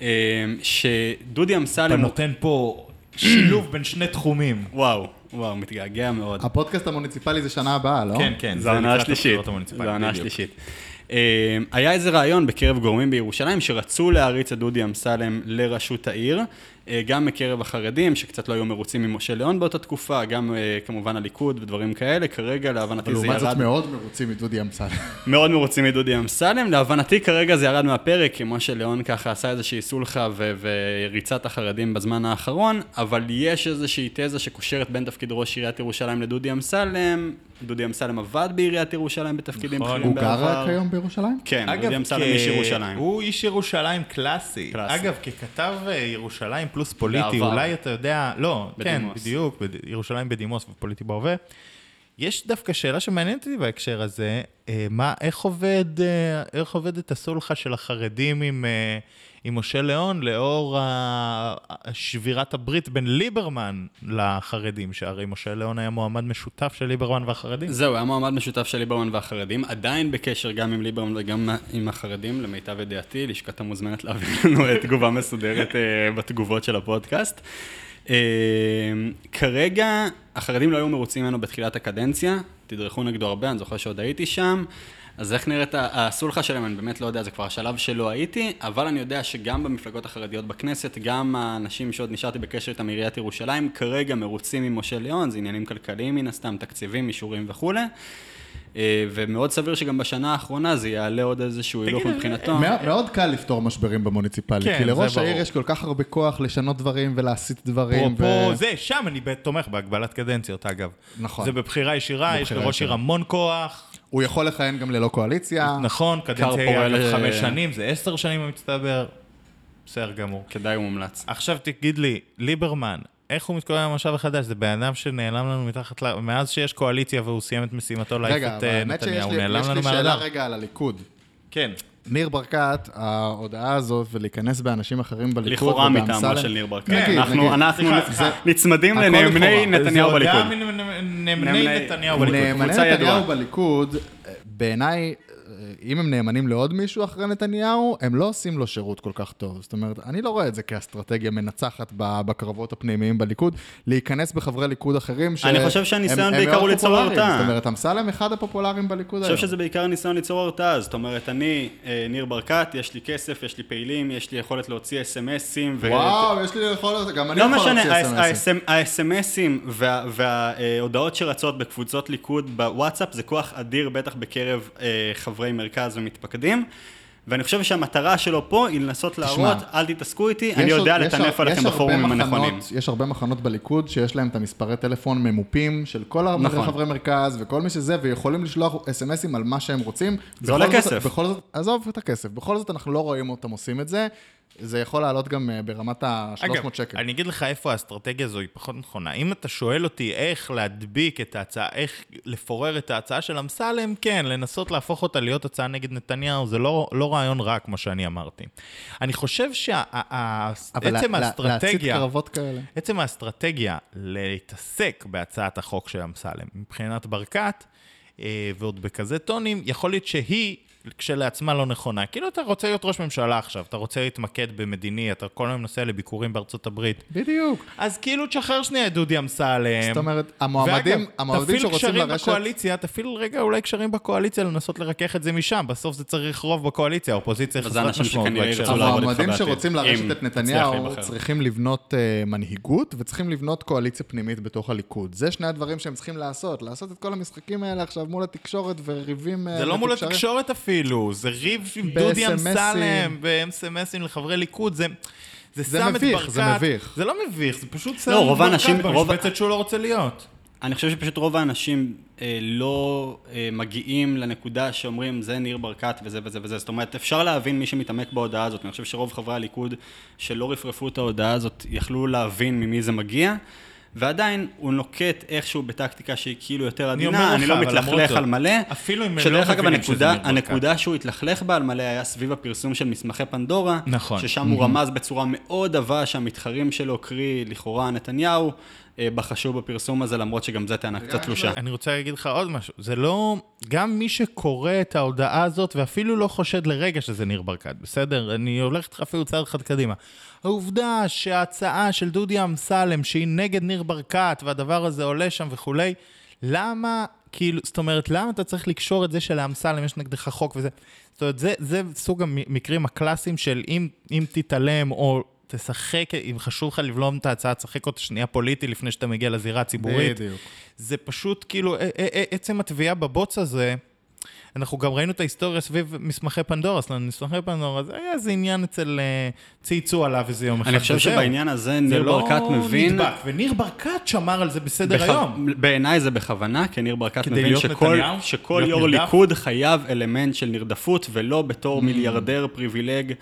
Speaker 3: אה, שדודי
Speaker 2: אתה
Speaker 3: אמסלם... הוא-
Speaker 2: נותן פה שילוב בין שני תחומים.
Speaker 3: וואו, וואו, מתגעגע מאוד.
Speaker 1: הפודקאסט המוניציפלי זה שנה הבאה, לא?
Speaker 2: כן, כן.
Speaker 3: זו העונה
Speaker 2: לקראת
Speaker 3: השלישית.
Speaker 2: הבחירות המוניציפליות,
Speaker 3: זו העונה
Speaker 2: בדיוק.
Speaker 3: השלישית. אה, היה איזה רעיון בקרב גורמים בירושלים שרצו להריץ את דודי אמסלם לראשות העיר, אה, גם מקרב החרדים, שקצת לא היו מרוצים ממשה ליאון באותה תקופה, גם אה, כמובן הליכוד ודברים כאלה, כרגע להבנתי זה
Speaker 1: לעומת זאת
Speaker 3: ירד. כן,
Speaker 1: מאוד מרוצים מדודי אמסלם.
Speaker 3: מאוד מרוצים מדודי אמסלם, להבנתי כרגע זה ירד מהפרק, כי משה ליאון ככה עשה איזושהי סולחה ו- וריצה את החרדים בזמן האחרון, אבל יש איזושהי תזה שקושרת בין תפקיד ראש עיריית ירושלים לדודי אמסלם, דודי אמסלם עבד בעיריית ירושלים בתפקידים
Speaker 2: נכון.
Speaker 3: בכירים
Speaker 1: הוא
Speaker 3: בעבר.
Speaker 1: גר כיום בירושלים?
Speaker 3: כן, דודי אמסלם
Speaker 2: כ-
Speaker 3: איש ירושלים.
Speaker 2: הוא איש ירושלים קלאסי.
Speaker 3: קלאסי.
Speaker 2: אגב, ככתב אה, ירושלים פלוס פוליטי,
Speaker 3: בעבר.
Speaker 2: אולי אתה יודע, לא, כן,
Speaker 3: בדימוס.
Speaker 2: בדיוק, בד- ירושלים בדימוס ופוליטי בהווה. יש דווקא שאלה שמעניינת אותי בהקשר הזה, אה, מה, איך עובד, אה, איך עובדת הסולחה של החרדים עם, אה, עם משה ליאון לאור ה- שבירת הברית בין ליברמן לחרדים, שהרי משה ליאון היה מועמד משותף של ליברמן והחרדים.
Speaker 3: זהו, היה מועמד משותף של ליברמן והחרדים, עדיין בקשר גם עם ליברמן וגם עם החרדים, למיטב ידיעתי, לשכת המוזמנת להעביר [laughs] לנו אה, תגובה מסודרת אה, בתגובות של הפודקאסט. אה, כרגע, החרדים לא היו מרוצים ממנו בתחילת הקדנציה, תדרכו נגדו הרבה, אני זוכר שעוד הייתי שם. אז איך נראית ה- הסולחה שלהם, אני באמת לא יודע, זה כבר השלב שלא הייתי, אבל אני יודע שגם במפלגות החרדיות בכנסת, גם האנשים שעוד נשארתי בקשר איתם מעיריית ירושלים, כרגע מרוצים ממשה ליאון, זה עניינים כלכליים מן הסתם, תקציבים, אישורים וכולי, אה, ומאוד סביר שגם בשנה האחרונה זה יעלה עוד איזשהו הילוך מבחינתו.
Speaker 1: מאוד- מאוד קל לפתור משברים במוניציפלי,
Speaker 2: כן,
Speaker 1: כי לראש
Speaker 2: זה ברור.
Speaker 1: העיר יש כל כך הרבה כוח לשנות דברים ולהסיט דברים.
Speaker 2: אפרופו
Speaker 1: ו-
Speaker 2: זה, שם אני ב- תומך בהגבלת קדנציות, אגב.
Speaker 1: נכון.
Speaker 2: זה בבחירה ישירה, יש
Speaker 1: בבחירה
Speaker 2: לראש עיר
Speaker 1: ישירה. אה.
Speaker 2: המון כוח,
Speaker 1: הוא יכול לכהן גם ללא קואליציה.
Speaker 2: נכון, קדנציה היא
Speaker 3: פורל,
Speaker 2: אגב
Speaker 3: אה,
Speaker 2: חמש שנים, זה עשר שנים במצטבר, בסדר גמור.
Speaker 3: כדאי ומומלץ.
Speaker 2: עכשיו תגיד לי, ליברמן, איך הוא מתכונן למושב החדש? זה בן אדם שנעלם לנו מתחת ל... מאז שיש קואליציה והוא סיים את משימתו להעיף
Speaker 1: רגע,
Speaker 2: את
Speaker 1: אבל
Speaker 2: אה,
Speaker 1: האמת שיש
Speaker 2: נתניהו, הוא
Speaker 1: לי
Speaker 2: נעלם
Speaker 1: יש
Speaker 2: לנו
Speaker 1: לי שאלה
Speaker 2: מהדף.
Speaker 1: רגע על הליכוד.
Speaker 2: כן.
Speaker 1: ניר ברקת, ההודעה הזאת ולהיכנס באנשים אחרים בליכוד.
Speaker 3: לכאורה
Speaker 1: ובאמסלם-
Speaker 3: מטעמו של ניר ברקת.
Speaker 1: נגיד,
Speaker 3: אנחנו-
Speaker 1: נגיד.
Speaker 3: אנחנו
Speaker 1: סליחה,
Speaker 3: נצמדים
Speaker 1: הכל
Speaker 3: לנאמני
Speaker 1: לכאורה.
Speaker 3: נתניהו
Speaker 2: זה
Speaker 3: בליכוד.
Speaker 2: הודעה מנאמני
Speaker 3: נאמני-
Speaker 2: נתניהו
Speaker 1: נאמני
Speaker 2: בליכוד.
Speaker 3: קבוצה ידועה.
Speaker 1: נתניהו בליכוד, אה, בעיניי, אה, אם הם נאמנים לעוד מישהו אחרי נתניהו, הם לא עושים לו שירות כל כך טוב. זאת אומרת, אני לא רואה את זה כאסטרטגיה מנצחת ב- בקרבות הפנימיים בליכוד, להיכנס בחברי ליכוד אחרים ש...
Speaker 3: אני חושב שהניסיון
Speaker 1: הם- הם
Speaker 3: בעיקר
Speaker 1: מאוד
Speaker 3: הוא ליצור
Speaker 1: פופולריים.
Speaker 3: הרתעה.
Speaker 1: זאת אומרת, אמסלם אחד הפופולריים בליכוד
Speaker 3: אני
Speaker 1: היום.
Speaker 3: חושב שזה בעיקר ניסיון ליצור הרתעה, זאת אומרת, אני, אה, ניר ברקת, יש לי כסף, יש לי פעילים, יש לי יכולת להוציא אס.אם.אסים. ו-
Speaker 1: וואו, יש לי יכולת, גם אני
Speaker 3: לא
Speaker 1: יכול להוציא
Speaker 3: משנה,
Speaker 1: אס.אם.אסים.
Speaker 3: האס.אם.אסים וההודעות שרצות בקבוצות ליכוד בוואטסאפ זה כוח אדיר בטח בקרב אה, חברי מרכז ומתפקדים. ואני חושב שהמטרה שלו פה היא לנסות להראות, אל תתעסקו איתי, אני
Speaker 1: יש
Speaker 3: יודע
Speaker 1: עוד- יש הר-
Speaker 3: לטנף עליכם
Speaker 1: יש הרבה
Speaker 3: בפורומים
Speaker 1: מחנות-
Speaker 3: הנכונים.
Speaker 1: יש הרבה מחנות בליכוד שיש להם את המספרי טלפון ממופים של כל
Speaker 3: נכון.
Speaker 1: החברי מרכז וכל מי שזה, ויכולים לשלוח אס.אם.אסים על מה שהם רוצים.
Speaker 3: זה
Speaker 1: בכל
Speaker 3: עולה
Speaker 1: זאת-
Speaker 3: כסף.
Speaker 1: בכל זאת, עזוב את הכסף, בכל זאת אנחנו לא רואים אותם עושים את זה. זה יכול לעלות גם אה, ברמת ה-300 שקל.
Speaker 2: אני אגיד לך איפה האסטרטגיה הזו היא פחות נכונה. אם אתה שואל אותי איך להדביק את ההצעה, איך לפורר את ההצעה של אמסלם, כן, לנסות להפוך אותה להיות הצעה נגד נתניהו, זה לא, לא רעיון רע, כמו שאני אמרתי. אני חושב
Speaker 1: אבל
Speaker 2: שעצם
Speaker 1: לה- לה- להצית
Speaker 2: האסטרטגיה...
Speaker 1: קרבות כאלה.
Speaker 2: עצם האסטרטגיה להתעסק בהצעת החוק של אמסלם מבחינת ברקת, אה, ועוד בכזה טונים, יכול להיות שהיא כשלעצמה לא נכונה. כאילו אתה רוצה להיות ראש ממשלה עכשיו, אתה רוצה להתמקד במדיני, אתה כל היום נוסע לביקורים בארצות הברית,
Speaker 1: בדיוק.
Speaker 2: אז כאילו תשחרר שנייה את דודי אמסלם.
Speaker 1: זאת אומרת, המועמדים-
Speaker 2: ואגב,
Speaker 1: המועמדים שרוצים
Speaker 2: תפעיל קשרים
Speaker 1: לרשת-
Speaker 2: בקואליציה, תפעיל רגע אולי קשרים בקואליציה לנסות לרכך את זה משם, בסוף זה צריך רוב בקואליציה, האופוזיציה
Speaker 3: וזה
Speaker 2: חסרת
Speaker 3: אנשים
Speaker 2: משמעות
Speaker 3: שכנראה
Speaker 2: בהקשר
Speaker 3: ירצו
Speaker 2: הזה.
Speaker 3: לעבוד לא איתך
Speaker 1: המועמדים
Speaker 3: בעתיד,
Speaker 1: שרוצים
Speaker 3: אם
Speaker 1: לרשת את
Speaker 3: תצליח
Speaker 1: נתניהו
Speaker 3: להיבחר.
Speaker 1: צריכים לבנות אה, מנהיגות וצריכים לבנות קואליציה פנימית בתוך הליכוד. זה שני הדברים שהם צריכים לעשות. לעשות את כל המשחקים האלה עכשיו מול התקשורת וריבים... אה,
Speaker 2: זה לא מול
Speaker 1: ותקשרים.
Speaker 2: התקשורת אפילו, זה ריב עם דודי
Speaker 1: ב-SMS-ים.
Speaker 2: אמסלם, ב-SMSים לחברי ליכוד, זה... זה,
Speaker 1: זה
Speaker 2: שם את
Speaker 1: מביך,
Speaker 2: ברקת,
Speaker 1: זה מביך.
Speaker 2: זה לא מביך, זה פשוט שם
Speaker 3: לא,
Speaker 2: את
Speaker 3: רוב האנשים-
Speaker 2: ברקת
Speaker 3: רוב-
Speaker 2: במשבצת שהוא לא רוצה להיות.
Speaker 3: אני חושב שפשוט רוב האנשים אה, לא אה, מגיעים לנקודה שאומרים זה ניר ברקת וזה וזה וזה. זאת אומרת, אפשר להבין מי שמתעמק בהודעה הזאת. אני חושב שרוב חברי הליכוד שלא רפרפו את ההודעה הזאת יכלו להבין ממי זה מגיע. ועדיין הוא נוקט איכשהו בטקטיקה שהיא כאילו יותר
Speaker 2: אומר
Speaker 3: עדינה, אני
Speaker 2: לך,
Speaker 3: לא
Speaker 2: אבל למרות
Speaker 3: מתלכלך
Speaker 2: זאת,
Speaker 3: על מלא.
Speaker 2: אפילו אם הם
Speaker 3: שדרך
Speaker 2: לא
Speaker 3: אגב,
Speaker 2: מבינים שזה
Speaker 3: הנקודה-
Speaker 2: ניר ברקת.
Speaker 3: הנקודה שהוא התלכלך בה על מלא היה סביב הפרסום של מסמכי פנדורה.
Speaker 2: נכון.
Speaker 3: ששם הוא רמז בצורה מאוד עבה שהמתחרים שלו, קרי לכאורה נתניהו, אה, בחשו בפרסום הזה, למרות שגם זו טענה קצת תלושה.
Speaker 2: אני רוצה להגיד לך עוד משהו, זה לא... גם מי שקורא את ההודעה הזאת ואפילו לא חושד לרגע שזה ניר ברקת, בסדר? אני הולך איתך אפילו צעד אחד קדימה. העובדה שההצעה של דודי אמסלם, שהיא נגד ניר ברקת, והדבר הזה עולה שם וכולי, למה, כאילו, זאת אומרת, למה אתה צריך לקשור את זה שלאמסלם יש נגדך חוק וזה? זאת אומרת, זה, זה סוג המקרים הקלאסיים של אם, אם תתעלם או... תשחק, אם חשוב לך לבלום את ההצעה, תשחק אותה שנייה פוליטי לפני שאתה מגיע לזירה הציבורית.
Speaker 1: בדיוק.
Speaker 2: זה פשוט כאילו, א- א- א- עצם התביעה בבוץ הזה, אנחנו גם ראינו את ההיסטוריה סביב מסמכי פנדורה, אז מסמכי פנדורה, זה היה איזה עניין אצל אה, צייצו עליו איזה יום אחד.
Speaker 3: אני חושב
Speaker 2: וזהו.
Speaker 3: שבעניין הזה ניר ברקת
Speaker 2: זה
Speaker 3: מבין...
Speaker 2: לא נדבק, וניר ברקת שמר על זה בסדר
Speaker 3: בכ-
Speaker 2: היום.
Speaker 3: בעיניי זה בכוונה, כי ניר ברקת
Speaker 2: כדי
Speaker 3: מבין
Speaker 2: להיות
Speaker 3: שכל,
Speaker 2: נתניהו?
Speaker 3: שכל
Speaker 2: להיות
Speaker 3: יו"ר
Speaker 2: נרדף? Mm.
Speaker 3: ליכוד חייב אלמנט של נרדפות, ולא בתור מיליארדר פריבילג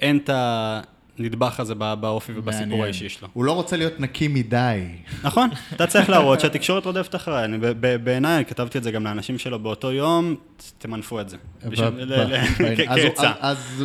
Speaker 3: אין את הנדבך הזה בא- באופי ובסיפור האישי שלו.
Speaker 1: הוא לא רוצה להיות נקי
Speaker 2: כן,
Speaker 1: מדי.
Speaker 3: נכון, אתה צריך להראות שהתקשורת רודפת אחריי. אני ב- ב- בעיניי, כתבתי את זה גם לאנשים שלו באותו יום, ת- תמנפו את זה. בשביל-
Speaker 1: ב-
Speaker 3: ל-
Speaker 1: ב- [laughs]
Speaker 3: ל- [laughs]
Speaker 1: ב-
Speaker 3: כ-
Speaker 1: אז הוא-
Speaker 3: כן, כעצה.
Speaker 1: אז אז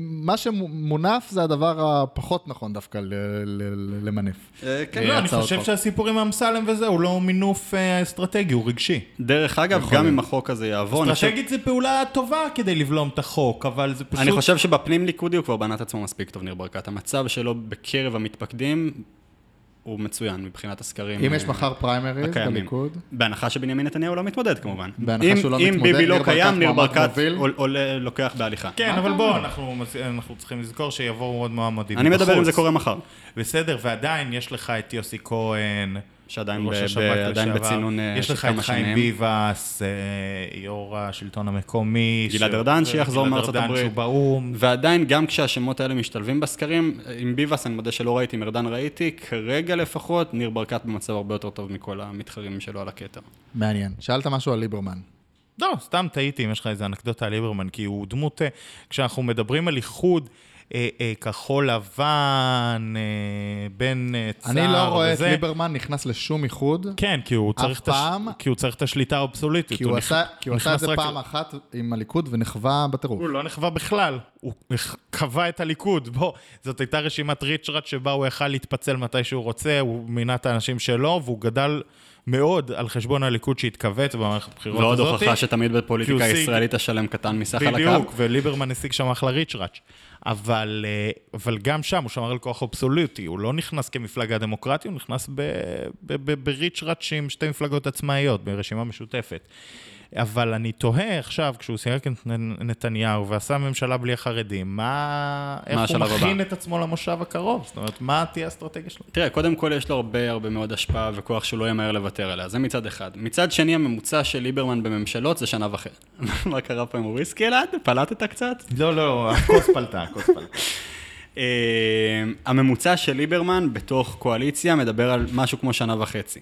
Speaker 1: מה שמונף זה הדבר הפחות נכון דווקא ל- ל- למנף.
Speaker 3: אה, כן.
Speaker 2: לא, אני
Speaker 1: הצעות
Speaker 2: חושב
Speaker 1: חוק.
Speaker 2: שהסיפור עם אמסלם וזה, הוא לא מינוף אה, אסטרטגי, הוא רגשי.
Speaker 3: דרך אגב, גם אם החוק הזה יעבור, אני חושב-
Speaker 2: אסטרטגית זו פעולה טובה כדי לבלום את החוק, אבל זה פשוט...
Speaker 3: אני חושב שבפנים ליכודי הוא כבר בנה את עצמו מספיק טוב, ניר ברקת. המצב שלו בקרב המתפקדים הוא מצוין מבחינת הסקרים.
Speaker 1: אם יש
Speaker 3: אה,
Speaker 1: מחר פריימריז
Speaker 3: הקיימים.
Speaker 1: בליכוד,
Speaker 3: בהנחה שבנימין נתניהו לא מתמודד כמובן.
Speaker 1: בהנחה
Speaker 3: אם-
Speaker 1: שהוא לא
Speaker 3: אם
Speaker 1: מתמודד,
Speaker 3: ביבי לא
Speaker 1: ניר ברקת
Speaker 3: קיים, ניר
Speaker 1: מועמד
Speaker 3: ברקת
Speaker 1: מוביל.
Speaker 3: עול- עולה- לוקח בהליכה.
Speaker 2: כן,
Speaker 1: מה
Speaker 2: אבל
Speaker 1: אתה
Speaker 2: בואו,
Speaker 1: אומר?
Speaker 2: אנחנו מס- אנחנו צריכים לזכור שיבואו עוד מועמדים
Speaker 3: אני מדבר
Speaker 2: בחוץ.
Speaker 3: אם זה קורה מחר.
Speaker 2: בסדר, ועדיין יש לך את יוסי כהן.
Speaker 3: שעדיין ב-
Speaker 2: ראש השב"כ
Speaker 3: ב- עדיין
Speaker 2: לשעבר.
Speaker 3: בצינון אה,
Speaker 2: יש
Speaker 3: של
Speaker 2: לך את
Speaker 3: כמה
Speaker 2: חיים
Speaker 3: שנים.
Speaker 2: ביבס, אה, יו"ר השלטון המקומי.
Speaker 3: גלעד
Speaker 2: ש-
Speaker 3: ארדן, שיחזור
Speaker 2: גלעד
Speaker 3: מארצות
Speaker 2: ארדן,
Speaker 3: הברית.
Speaker 2: שהוא באו"ם.
Speaker 3: ועדיין, גם כשהשמות האלה משתלבים בסקרים, עם ביבס אני מודה שלא ראיתי, עם ארדן ראיתי, כרגע לפחות, ניר ברקת במצב הרבה יותר טוב מכל המתחרים שלו על הכתר.
Speaker 1: מעניין. שאלת משהו על ליברמן.
Speaker 2: לא, סתם טעיתי אם יש לך איזה אנקדוטה על ליברמן, כי הוא דמות... אה, כשאנחנו מדברים על איחוד אה, אה, כחול לבן, אה, בן אה, צער
Speaker 1: אני לא רואה את
Speaker 2: וזה,
Speaker 1: ליברמן נכנס לשום איחוד,
Speaker 2: כן, כי הוא צריך את הש-
Speaker 1: פעם-
Speaker 2: כי הוא צריך את השליטה האבסולוטית.
Speaker 1: כי כאילו, הוא
Speaker 2: נכ-
Speaker 1: עשה- כי הוא עשה את
Speaker 2: נכנס
Speaker 1: זה
Speaker 2: רק-
Speaker 1: פעם אחת עם הליכוד ונכווה בטירוף.
Speaker 2: הוא לא נחווה בכלל, הוא קבע את הליכוד, בוא, זאת הייתה רשימת ריצ'רד שבה הוא יכל להתפצל מתי שהוא רוצה, הוא מינה את האנשים שלו, והוא גדל מאוד על חשבון הליכוד שהתכווץ במערכת הבחירות הזאת.
Speaker 3: ועוד הוכחה שתמיד
Speaker 2: כי
Speaker 3: בפוליטיקה
Speaker 2: הוא השיג-
Speaker 3: הישראלית השלם קטן מסך על הקו.
Speaker 2: בדיוק, וליברמן השיג שם אחלה ריצ'ראץ'. אבל, אה, אבל גם שם הוא שמר על כוח אבסולוטי, הוא לא נכנס כמפלגה דמוקרטית, הוא נכנס ב- ב- ב- בריצ'ראץ' עם שתי מפלגות עצמאיות, ברשימה משותפת. אבל אני תוהה עכשיו, כשהוא סייג את נ- נתניהו ועשה ממשלה בלי החרדים, מה...
Speaker 3: מה
Speaker 2: איך הוא
Speaker 3: השלב הבא?
Speaker 2: מכין את עצמו למושב הקרוב? זאת אומרת, מה תהיה האסטרטגיה שלו?
Speaker 3: תראה, קודם כל יש לו הרבה הרבה מאוד השפעה וכוח שהוא לא ימהר לוותר עליה, זה מצד אחד. מצד שני, הממוצע של ליברמן בממשלות זה שנה וחצי. [laughs] מה קרה פה עם הוויסקי אלעד? פלטת קצת?
Speaker 2: לא, לא, הכוס פלטה, הכוס פלטה.
Speaker 3: אה, הממוצע של ליברמן בתוך קואליציה מדבר על משהו כמו שנה וחצי.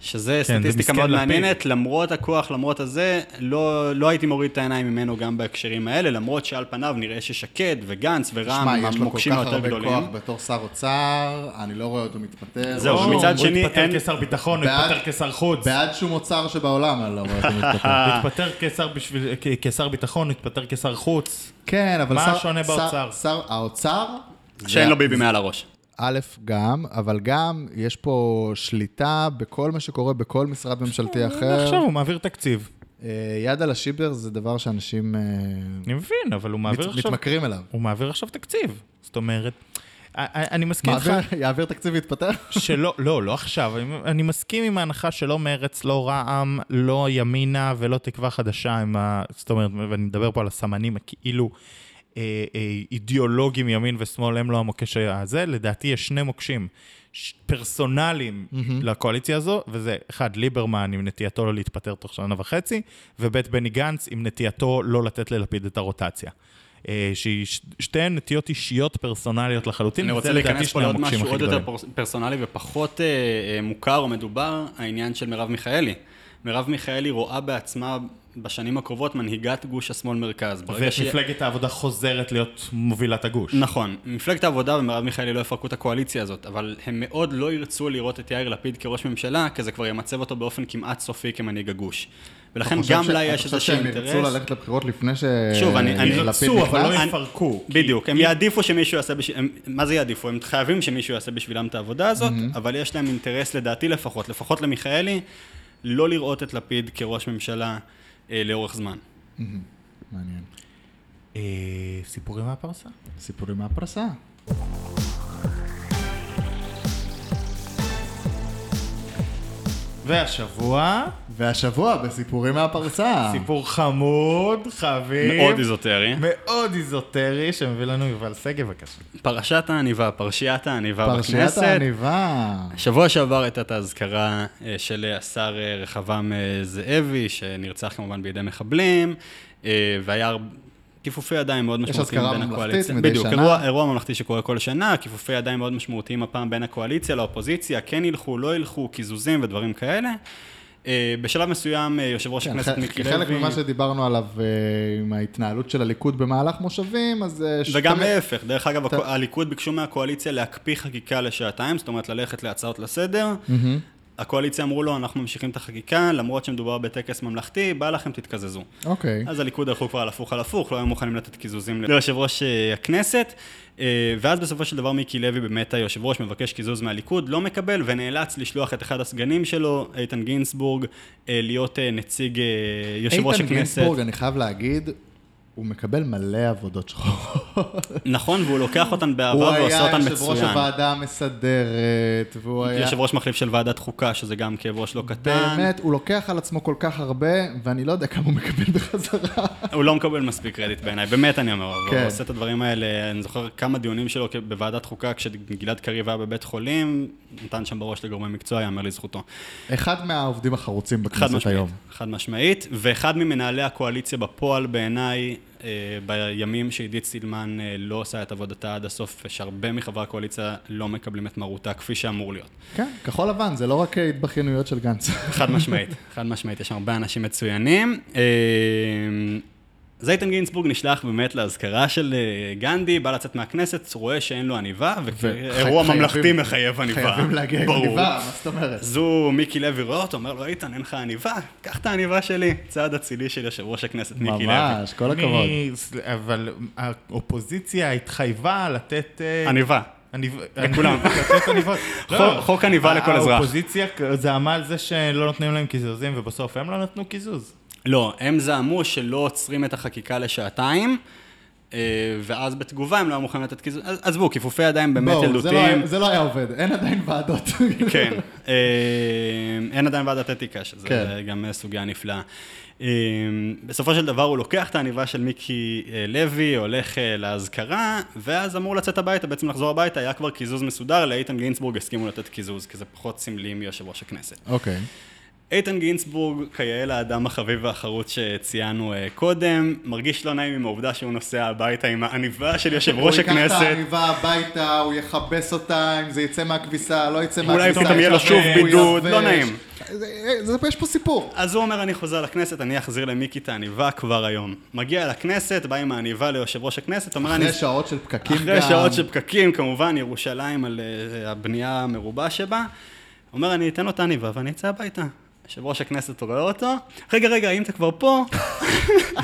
Speaker 3: שזה
Speaker 2: כן, זה
Speaker 3: סטטיסטיקה
Speaker 2: מסכן
Speaker 3: מאוד
Speaker 2: לפיד.
Speaker 3: מעניינת, למרות הכוח, למרות הזה, לא, לא הייתי מוריד את העיניים ממנו גם בהקשרים האלה, למרות שעל פניו נראה ששקד וגנץ ורע"מ
Speaker 1: שמע,
Speaker 3: הם
Speaker 1: יש לו כל
Speaker 3: המוקשים
Speaker 1: כך
Speaker 3: היותר
Speaker 1: הרבה
Speaker 3: גדולים.
Speaker 1: כוח בתור שר אוצר, אני לא רואה אותו מתפטר.
Speaker 3: זהו,
Speaker 1: לא,
Speaker 3: ומצד
Speaker 2: הוא
Speaker 3: שני, אין-
Speaker 2: התפטר כשר ביטחון, הוא
Speaker 1: בעד-
Speaker 2: התפטר כשר חוץ.
Speaker 1: בעד שום אוצר שבעולם אני לא רואה אותו מתפטר.
Speaker 3: [laughs]
Speaker 2: הוא התפטר כשר בשביל- כ- כשר ביטחון, התפטר כשר חוץ.
Speaker 1: כן, אבל
Speaker 2: מה
Speaker 1: שר...
Speaker 2: השונה
Speaker 1: שר-
Speaker 2: באוצר?
Speaker 1: שר... האוצר...
Speaker 3: שאין
Speaker 1: זה-
Speaker 3: לו ביבי מעל הראש.
Speaker 1: א', גם, אבל גם יש פה שליטה בכל מה שקורה בכל משרד ממשלתי אחר.
Speaker 2: עכשיו אה, הוא מעביר תקציב.
Speaker 1: אה, יד על השיבר זה דבר שאנשים אה,
Speaker 2: אני מבין, אבל הוא
Speaker 1: מת-
Speaker 2: מעביר עכשיו...
Speaker 1: מתמכרים אליו.
Speaker 2: הוא מעביר עכשיו תקציב. זאת אומרת, א- א- אני מסכים איתך
Speaker 1: מעביר- יעביר תקציב ויתפטר?
Speaker 2: שלא, לא, לא עכשיו. אני- אני מסכים עם ההנחה שלא מרץ, לא רע"מ, לא ימינה ולא תקווה חדשה עם ה... זאת אומרת, ואני מדבר פה על הסמנים הכאילו... אה, אה, אידיאולוגים ימין ושמאל הם לא המוקש הזה, לדעתי יש שני מוקשים ש- פרסונליים לקואליציה הזו, וזה אחד, ליברמן עם נטייתו לא להתפטר תוך שנה וחצי, וב' בני גנץ עם נטייתו לא לתת ללפיד את הרוטציה. אה, שהיא ש- שתיהן נטיות אישיות פרסונליות לחלוטין,
Speaker 3: אני רוצה
Speaker 2: וזה לדעתי
Speaker 3: להיכנס פה
Speaker 2: שני
Speaker 3: לעוד
Speaker 2: המוקשים
Speaker 3: משהו
Speaker 2: הכי
Speaker 3: עוד
Speaker 2: גדולים.
Speaker 3: יותר פרס- פרסונלי ופחות אה, אה, מוכר או מדובר, העניין של מרב מיכאלי. מרב מיכאלי רואה בעצמה בשנים הקרובות מנהיגת גוש השמאל-מרכז. ברגע שהיא-
Speaker 2: ומפלגת העבודה חוזרת להיות מובילת הגוש.
Speaker 3: נכון, מפלגת העבודה ומרב מיכאלי לא יפרקו את הקואליציה הזאת, אבל הם מאוד לא ירצו לראות את יאיר לפיד כראש ממשלה, כי זה כבר ימצב אותו באופן כמעט סופי כמנהיג הגוש. ולכן
Speaker 1: חושב
Speaker 3: גם
Speaker 1: ש-
Speaker 3: לה
Speaker 1: אני
Speaker 3: יש
Speaker 1: חושב
Speaker 3: איזשהו
Speaker 1: שהם ירצו
Speaker 3: אינטרס.
Speaker 1: ללכת לבחירות לפני ש...
Speaker 3: שוב, אני- אני-
Speaker 1: לפיד
Speaker 2: ירצו, אבל
Speaker 1: נכנס?
Speaker 2: לא
Speaker 3: אני-
Speaker 2: יפרקו. כי-
Speaker 3: בדיוק, הם יעדיפו שמישהו יעשה בשבילם, מה זה יעדיפו? הם חייבים שמישהו יעשה בשבילם את העבודה הזאת, אבל יש להם אינטרס לדעתי לפחות, לפחות למיכאלי, לא לראות את לפיד כראש ממשלה אה, לאורך זמן.
Speaker 1: מעניין.
Speaker 2: אה, סיפורים מהפרסה?
Speaker 1: סיפורים מהפרסה.
Speaker 2: והשבוע,
Speaker 1: והשבוע בסיפורים מהפרסה.
Speaker 2: סיפור חמוד,
Speaker 1: אה,
Speaker 2: חביב.
Speaker 3: מאוד איזוטרי.
Speaker 2: מאוד איזוטרי, שמביא לנו יובל שגב, בבקשה.
Speaker 3: פרשת העניבה, פרשיית העניבה
Speaker 1: פרשיית
Speaker 3: בכנסת.
Speaker 1: העניבה.
Speaker 3: שבוע שעבר הייתה את האזכרה אה, של השר אה, רחבעם אה, זאבי, שנרצח כמובן בידי מחבלים, אה, והיה הר- כיפופי ידיים מאוד משמעותיים
Speaker 1: אזכרה
Speaker 3: בין
Speaker 1: ממלכתית
Speaker 3: הקואליציה.
Speaker 1: מדי
Speaker 3: בדיוק,
Speaker 1: שנה.
Speaker 3: אירוע, אירוע ממלכתי שקורה כל שנה, כיפופי ידיים מאוד משמעותיים הפעם בין הקואליציה לאופוזיציה, כן ילכו, לא ילכו, קיזוזים ודברים כאלה. אה, בשלב מסוים, אה, יושב ראש
Speaker 1: כן,
Speaker 3: הכנסת
Speaker 1: ח-
Speaker 3: מיקי
Speaker 1: כחלק
Speaker 3: לוי,
Speaker 1: ממה שדיברנו עליו אה, עם ההתנהלות של הליכוד במהלך מושבים, אז... אה, ש-
Speaker 3: וגם
Speaker 1: תמיד-
Speaker 3: להפך, דרך אגב, הקו- הליכוד ביקשו מהקואליציה להקפיא חקיקה לשעתיים, זאת אומרת ללכת להצעות לסדר.
Speaker 1: מהמם.
Speaker 3: הקואליציה אמרו לו, אנחנו ממשיכים את החקיקה, למרות שמדובר בטקס ממלכתי, בא לכם, תתקזזו.
Speaker 1: אוקיי.
Speaker 3: אז הליכוד הלכו כבר על הפוך על הפוך, לא היו מוכנים לתת קיזוזים ליושב ראש אה, הכנסת. אה, ואז בסופו של דבר מיקי לוי, באמת היושב ראש, מבקש קיזוז מהליכוד, לא מקבל, ונאלץ לשלוח את אחד הסגנים שלו, איתן גינזבורג, אה, להיות אה, נציג אה, יושב ראש
Speaker 1: איתן
Speaker 3: הכנסת.
Speaker 1: גינזבורג, אני חייב להגיד, הוא מקבל מלא עבודות
Speaker 3: [laughs]
Speaker 1: שחורות.
Speaker 3: נכון, והוא לוקח אותן
Speaker 1: הוא
Speaker 3: באהבה ועושה
Speaker 1: היה
Speaker 3: אותן
Speaker 1: יושב ראש
Speaker 3: מצוין.
Speaker 1: הוועדה המסדרת, והוא היה...
Speaker 3: יושב ראש מחליף של ועדת חוקה, שזה גם כאב ראש לא קטן.
Speaker 1: באמת, הוא לוקח על עצמו כל כך הרבה, ואני לא יודע כמה הוא מקבל
Speaker 3: [laughs]
Speaker 1: בחזרה.
Speaker 3: הוא לא מקבל מספיק קרדיט בעיניי, באמת אני אומר, אבל
Speaker 1: כן.
Speaker 3: הוא עושה את הדברים האלה, אני זוכר כמה דיונים שלו כ- בוועדת חוקה, כשגלעד קריב היה בבית חולים, נתן שם בראש לגורמי מקצוע, יאמר לזכותו.
Speaker 1: אחד מהעובדים החרוצים
Speaker 3: חד
Speaker 1: בכנסת
Speaker 3: משמעית,
Speaker 1: היום.
Speaker 3: חד משמעית, ואחד ממנהלי הקואליציה בפועל בעיניי, אה, בימים שעידית סילמן אה, לא עושה את עבודתה עד הסוף, ושהרבה מחברי הקואליציה לא מקבלים את מרותה כפי שאמור להיות.
Speaker 1: כן, כחול לבן, זה לא רק אה, התבכיינויות של
Speaker 3: [laughs]
Speaker 1: גנץ.
Speaker 3: חד משמעית, חד משמעית, יש שם הרבה אנשים מצוינים. אה, אז איתן גינצבורג נשלח באמת לאזכרה של אה, גנדי, בא לצאת מהכנסת, רואה שאין לו עניבה, ואירוע
Speaker 1: חייבים-
Speaker 3: ממלכתי מחייב עניבה.
Speaker 1: חייבים להגיע עם
Speaker 3: ברור.
Speaker 1: עניבה, מה זאת אומרת?
Speaker 3: אז הוא, מיקי לוי רואה אותו, אומר לו, איתן, אין לך עניבה? קח את העניבה שלי. צעד אצילי של יושב ראש הכנסת מיקי לוי.
Speaker 1: ממש, כל הכבוד.
Speaker 2: מי- אבל האופוזיציה התחייבה לתת... אה,
Speaker 3: עניבה.
Speaker 2: עניב-
Speaker 3: לכולם.
Speaker 2: [laughs] לתת עניבות. לא.
Speaker 3: חוק- חוק עניבה
Speaker 1: אה,
Speaker 3: לכל אזרח.
Speaker 2: האופוזיציה זעמה על זה שלא נותנים להם קיזוזים, ובסוף הם לא נתנו קיזוז.
Speaker 3: לא, הם זעמו שלא עוצרים את החקיקה לשעתיים. אה, ואז בתגובה הם לא היו מוכנים לתת קיזוז, אז- עזבו, כיפופי ידיים באמת
Speaker 1: בואו, זה לא
Speaker 3: ילדותיים.
Speaker 1: היה- זה לא היה עובד, אין עדיין ועדות.
Speaker 3: כן, אה, אין עדיין ועדת אתיקה, שזה
Speaker 1: כן.
Speaker 3: גם סוגיה נפלאה. אה, בסופו של דבר הוא לוקח את העניבה של מיקי אה, לוי, הולך אה, לאזכרה, ואז אמור לצאת הביתה, בעצם לחזור הביתה, היה כבר קיזוז מסודר, לאיתן גינצבורג הסכימו לתת קיזוז, כי זה פחות סמלי מיושב ראש הכנסת.
Speaker 1: [laughs] אוקיי.
Speaker 3: איתן גינצבורג, כיאה לאדם החביב והחרוץ שציינו אה, קודם, מרגיש לא נעים עם העובדה שהוא נוסע הביתה עם העניבה של יושב ראש
Speaker 1: הוא ייקח את
Speaker 3: הכנסת.
Speaker 1: העניבה הביתה, הוא יכבס אותה, אם זה יצא מהכביסה, לא יצא
Speaker 3: אולי
Speaker 1: מהכביסה.
Speaker 3: פתאום יהיה לו
Speaker 1: ישבש,
Speaker 2: שוב
Speaker 1: הוא
Speaker 3: בידוד, לא
Speaker 1: יבש.
Speaker 3: נעים.
Speaker 1: זה- זה- יש פה סיפור.
Speaker 3: אז הוא אומר, אני חוזר לכנסת, אני אחזיר למיקי את העניבה כבר היום. מגיע לכנסת, בא עם העניבה ליושב ראש הכנסת, אומר, אני...
Speaker 1: אחרי שעות של פקקים גם.
Speaker 3: אחרי שעות של פקקים, כמובן, ירושלים על אה, הבנייה המרובה שבה. אומר, אני אתן לו את העניבה ואני אצא הביתה. יושב ראש הכנסת רואה אותו, רגע, רגע, אם אתה כבר פה... [laughs]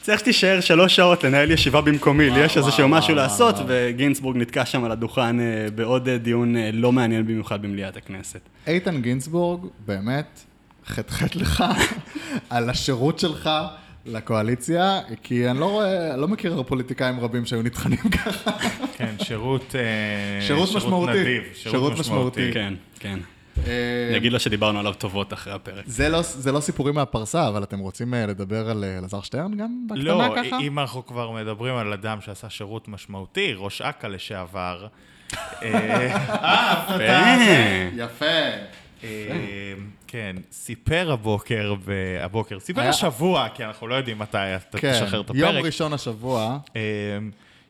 Speaker 3: צריך שתישאר שלוש שעות לנהל ישיבה במקומי, לי יש
Speaker 1: וואו,
Speaker 3: איזשהו
Speaker 1: וואו,
Speaker 3: משהו
Speaker 1: וואו,
Speaker 3: לעשות,
Speaker 1: וואו.
Speaker 3: וגינצבורג נתקע שם על הדוכן אה, בעוד אה, דיון אה, לא מעניין במיוחד במליאת הכנסת.
Speaker 1: איתן גינזבורג, באמת, חטחט לך [laughs] על השירות שלך לקואליציה, כי אני לא רואה, אני לא מכיר פוליטיקאים רבים שהיו נטחנים ככה.
Speaker 2: כן, שירות... אה,
Speaker 1: שירות משמעותי.
Speaker 2: נדיב,
Speaker 1: שירות
Speaker 2: שירות משמעותי.
Speaker 3: כן, כן. נגיד לו שדיברנו עליו טובות אחרי הפרק.
Speaker 1: אה, זה לא, זה לא סיפורים מהפרסה, אבל אתם רוצים אה, לדבר על אה, אלעזר שטרן גם בקטנה
Speaker 2: לא,
Speaker 1: ככה?
Speaker 2: אם אנחנו כבר מדברים על אדם שעשה שירות משמעותי, ראש אכ"א לשעבר. אה, אה,
Speaker 1: כן.
Speaker 3: אה,
Speaker 1: יפה.
Speaker 2: אה, כן, סיפר הבוקר, ב- הבוקר, סיפר
Speaker 1: היה-
Speaker 2: השבוע, כי אנחנו לא יודעים מתי אתה
Speaker 1: כן,
Speaker 2: תשחרר את
Speaker 1: יום
Speaker 2: הפרק.
Speaker 1: ראשון השבוע,
Speaker 2: אה,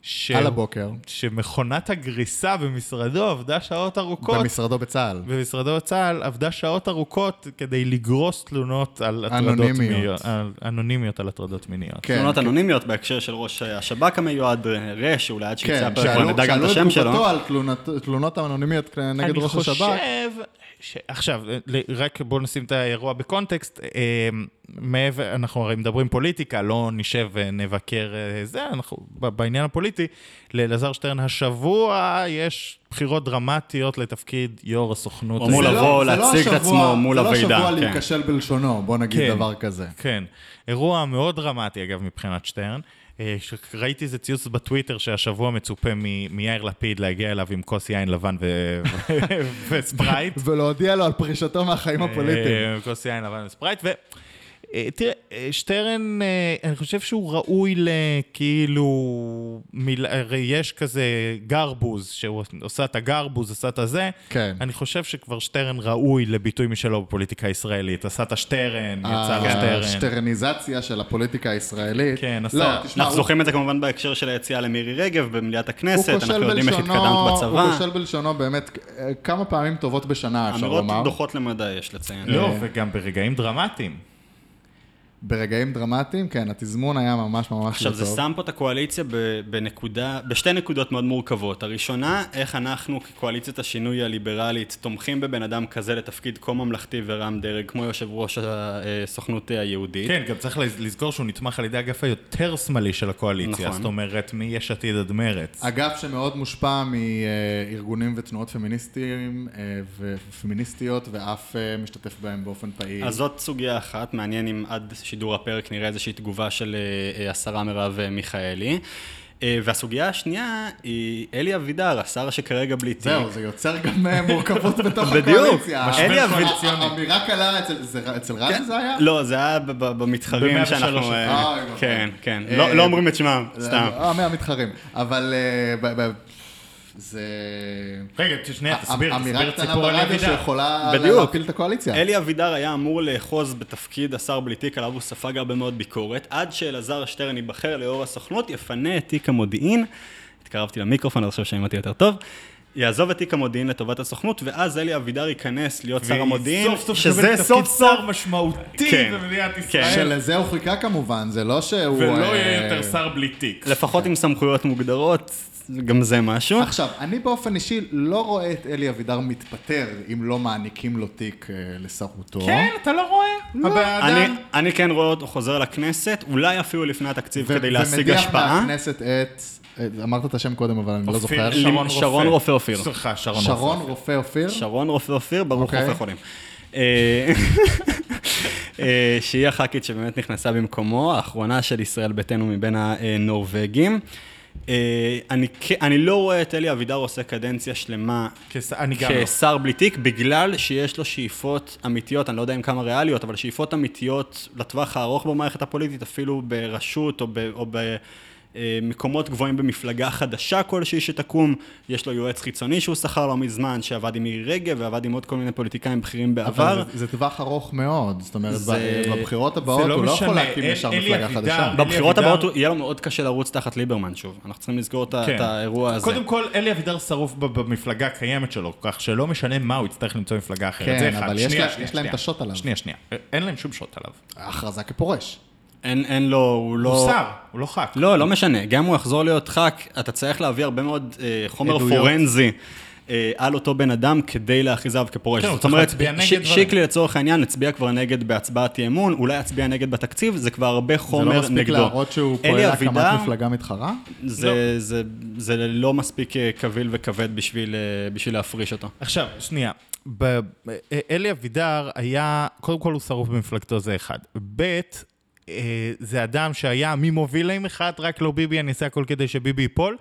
Speaker 2: ש-
Speaker 1: על הבוקר,
Speaker 2: שמכונת הגריסה במשרדו עבדה שעות ארוכות.
Speaker 1: במשרדו בצה"ל.
Speaker 2: במשרדו צה"ל עבדה שעות ארוכות כדי לגרוס תלונות על הטרדות
Speaker 1: אנונימיות.
Speaker 2: מיניות. על- אנונימיות על הטרדות מיניות.
Speaker 1: כן,
Speaker 3: תלונות
Speaker 1: כן.
Speaker 3: אנונימיות בהקשר של ראש השב"כ המיועד, אה, רש, אולי עד שיצא
Speaker 1: כן,
Speaker 3: הפרק כבר
Speaker 1: שאלו
Speaker 3: נדע גם את
Speaker 1: שאלו
Speaker 3: השם
Speaker 1: את
Speaker 3: שלו.
Speaker 1: תגובתו על תלונות- תלונות האנונימיות נגד ראש השב"כ.
Speaker 2: אני חושב ש... עכשיו, ל- רק בואו נשים את האירוע בקונטקסט. אה, מעבר, אנחנו הרי מדברים פוליטיקה, לא נשב ונבקר אה, זה, אנחנו ב- בעניין הפוליטי. לאלעזר שטרן, השבוע יש בחירות דרמטיות לתפקיד יו"ר הסוכנות.
Speaker 3: הוא אמור
Speaker 1: זה
Speaker 2: הישראלית.
Speaker 1: לא-
Speaker 3: לבוא,
Speaker 1: זה לא
Speaker 3: להציג את
Speaker 1: השבוע-
Speaker 3: עצמו מול
Speaker 1: זה לא
Speaker 3: הוועידה,
Speaker 1: השבוע
Speaker 3: כן.
Speaker 1: להיכשל בלשונו, בוא נגיד
Speaker 2: כן.
Speaker 1: דבר כזה.
Speaker 2: כן. אירוע מאוד דרמטי, אגב, מבחינת שטרן. אה, ש- ראיתי איזה ציוץ בטוויטר שהשבוע מצופה מ- מיאיר לפיד להגיע אליו עם כוס יין לבן ו- [laughs] ו- וספרייט.
Speaker 1: ולהודיע לו על פרישתו מהחיים הפוליטיים.
Speaker 2: אה, כוס יין לבן וספרייט, ו... אה, תראה, אה, שטרן, אה, אני חושב שהוא ראוי לכאילו, מיל... הרי יש כזה גרבוז, שהוא עושה את הגרבוז, עשה את הזה.
Speaker 1: כן.
Speaker 2: אני חושב שכבר שטרן ראוי לביטוי משלו בפוליטיקה הישראלית. עשה את השטרן,
Speaker 1: אה,
Speaker 2: יצא לשטרן.
Speaker 1: השטרניזציה של הפוליטיקה הישראלית.
Speaker 2: כן, עשה-
Speaker 1: לא, תשמע,
Speaker 3: אנחנו
Speaker 1: הוא-
Speaker 3: זוכרים את זה כמובן בהקשר של היציאה למירי רגב במליאת
Speaker 1: הוא
Speaker 3: הכנסת,
Speaker 1: כושל
Speaker 3: אנחנו יודעים איך התקדמת
Speaker 1: הוא
Speaker 3: בצבא.
Speaker 1: כושל בלשונו באמת אה, כמה פעמים טובות בשנה, אפשר
Speaker 3: אמירות
Speaker 1: לומר.
Speaker 3: דוחות למדי, יש לציין.
Speaker 2: לא, וגם ברגעים דרמטיים.
Speaker 1: ברגעים דרמטיים, כן, התזמון היה ממש ממש לא טוב.
Speaker 3: עכשיו, זה שם פה את הקואליציה ב- בנקודה, בשתי נקודות מאוד מורכבות. הראשונה, איך אנחנו כקואליציית השינוי הליברלית תומכים בבן אדם כזה לתפקיד כה ממלכתי ורם דרג, כמו יושב ראש הסוכנות היהודית.
Speaker 2: כן, גם צריך לז- לזכור שהוא נתמך על ידי האגף היותר שמאלי של הקואליציה.
Speaker 3: נכון.
Speaker 2: זאת אומרת, מיש עתיד עד מרץ.
Speaker 1: אגף שמאוד מושפע מארגונים ותנועות פמיניסטיים אה, ופמיניסטיות, ואף אה, משתתף בהם באופן פעיל.
Speaker 3: אז זאת סוגיה אחת, מעניין אם עד שידור הפרק נראה איזושהי תגובה של אה, אה, השרה מרב אה, מיכאלי. אה, והסוגיה השנייה היא אלי אבידר, השר שכרגע בלי תיק.
Speaker 1: זהו, זה יוצר גם אה, מורכבות בתוך
Speaker 3: בדיוק.
Speaker 1: הקואליציה.
Speaker 3: משבר אלי אביד-
Speaker 1: קואליציוני. אמירה קלה אצל- זה- אצל רז זה היה?
Speaker 3: לא, זה היה ב- ב- במתחרים
Speaker 2: ב-103.
Speaker 3: שאנחנו... אה,
Speaker 1: אוי, אוי.
Speaker 3: כן, כן.
Speaker 1: אה,
Speaker 3: לא לא אומרים את שמם,
Speaker 1: זה-
Speaker 3: סתם.
Speaker 1: אה, מהמתחרים. אבל אה, ב- ב- זה...
Speaker 2: רגע, שנייה, אה, תסביר, תסביר
Speaker 1: אה, אמירה
Speaker 2: את
Speaker 1: קטנה
Speaker 2: סיפור אלי
Speaker 1: ברדיו
Speaker 2: אבידר.
Speaker 1: שיכולה
Speaker 3: בדיוק.
Speaker 1: להפיל את הקואליציה.
Speaker 2: כן.
Speaker 3: אלי אבידר היה אמור לאחוז בתפקיד השר בלי תיק, עליו הוא ספג הרבה מאוד ביקורת, עד שאלעזר שטרן ייבחר ליו"ר הסוכנות, יפנה את תיק המודיעין, התקרבתי למיקרופון, אז עכשיו שומעים אותי יותר טוב, יעזוב את תיק המודיעין לטובת הסוכנות, ואז אלי אבידר ייכנס להיות שר המודיעין,
Speaker 2: וסוף סוף
Speaker 3: שזה
Speaker 2: מקבל
Speaker 3: סוף
Speaker 2: תפקיד
Speaker 3: סוף...
Speaker 2: שר משמעותי
Speaker 3: כן,
Speaker 2: במדינת
Speaker 3: כן.
Speaker 2: ישראל.
Speaker 1: שלזה הוא חיכה כמובן, זה לא שהוא...
Speaker 2: ולא
Speaker 1: אה,
Speaker 2: יהיה יותר שר בלי תיק.
Speaker 3: לפחות עם סמכויות מוגדרות, גם זה משהו.
Speaker 1: עכשיו, אני באופן אישי לא רואה את אלי אבידר מתפטר אם לא מעניקים לו תיק אה, לשרותו.
Speaker 2: כן, אתה לא רואה? הבן
Speaker 3: אני,
Speaker 2: אדם...
Speaker 3: אני כן רואה אותו חוזר לכנסת, אולי אפילו לפני התקציב
Speaker 1: ו-
Speaker 3: כדי להשיג
Speaker 1: ומדיח
Speaker 3: השפעה.
Speaker 1: מהכנסת את... אה, אמרת את השם קודם, אבל אני לא זוכר.
Speaker 3: ש- שרון רופא אופיר.
Speaker 2: סליחה, שרון רופא.
Speaker 1: שרון רופא אופיר?
Speaker 3: שרון רופא אופיר, ברוך
Speaker 1: אוקיי.
Speaker 3: רופא חולים. אה, אה, שהיא הח"כית שבאמת נכנסה במקומו, האחרונה של ישראל ביתנו מבין הנורבגים. אה, אני כ- אני לא רואה את אלי אבידר עושה קדנציה שלמה
Speaker 2: כס- אני גם לא.
Speaker 3: כשר בלי תיק, בגלל שיש לו שאיפות אמיתיות, אני לא יודע אם כמה ריאליות, אבל שאיפות אמיתיות לטווח הארוך במערכת הפוליטית, אפילו בראשות או ב... או ב אה, מקומות גבוהים במפלגה חדשה כלשהי שתקום, יש לו יועץ חיצוני שהוא שכר לא מזמן, שעבד עם מירי רגב ועבד עם עוד כל מיני פוליטיקאים בכירים בעבר.
Speaker 1: אבל זה- זה טווח ארוך מאוד, זאת אומרת,
Speaker 3: זה-
Speaker 1: ב- בבחירות הבאות
Speaker 2: זה לא
Speaker 1: הוא לא
Speaker 2: משנה,
Speaker 1: יכול להקים
Speaker 2: אל-
Speaker 1: ישר
Speaker 2: אלי
Speaker 1: מפלגה
Speaker 2: אבידר-
Speaker 1: חדשה.
Speaker 2: אלי
Speaker 3: בבחירות
Speaker 2: אבידר-
Speaker 3: הבאות הוא- יהיה לו מאוד קשה לרוץ תחת ליברמן שוב, אנחנו צריכים לסגור את ה-
Speaker 2: כן.
Speaker 3: את האירוע הזה.
Speaker 2: קודם כל, אלי אבידר שרוף ב- במפלגה הקיימת שלו, כך שלא משנה מה, הוא יצטרך למצוא מפלגה אחרת.
Speaker 1: כן,
Speaker 2: זה אחד.
Speaker 1: אבל יש
Speaker 2: שנייה,
Speaker 1: לה-
Speaker 2: שנייה,
Speaker 1: יש להם
Speaker 2: שנייה.
Speaker 1: את השוט עליו.
Speaker 2: שנייה, שנייה. אין להם שום שוט עליו.
Speaker 1: הכרזה כפורש.
Speaker 3: אין אין לו, הוא לא...
Speaker 2: הוא שר, הוא לא ח"כ.
Speaker 3: לא, לא משנה. גם אם הוא יחזור להיות ח"כ, אתה צריך להביא הרבה מאוד אה, חומר
Speaker 1: עדויות.
Speaker 3: פורנזי אה, על אותו בן אדם כדי להכריז עליו כפורש.
Speaker 2: כן, הוא
Speaker 3: זאת
Speaker 2: צריך
Speaker 3: אומרת,
Speaker 2: להצביע נגד
Speaker 3: ש-
Speaker 2: דברים.
Speaker 3: שיקלי לצורך העניין הצביע כבר נגד בהצבעת אי אמון, אולי יצביע נגד בתקציב, זה כבר הרבה
Speaker 1: זה
Speaker 3: חומר
Speaker 1: לא
Speaker 3: נגדו.
Speaker 1: מספיק להראות שהוא
Speaker 3: אלי
Speaker 1: פועל להקמת
Speaker 3: אבידר,
Speaker 1: מפלגה מתחרה?
Speaker 3: זה, לא. זה, זה לא מספיק אה, קביל וכבד בשביל, אה, בשביל להפריש אותו.
Speaker 2: עכשיו, שנייה. ב- אה, אלי אבידר היה, קודם כל הוא שרוף במפלגתו, זה אחד. ב', אה, זה אדם שהיה ממובילי מחאת רק לא ביבי, אני אעשה הכל כדי שביבי ייפול.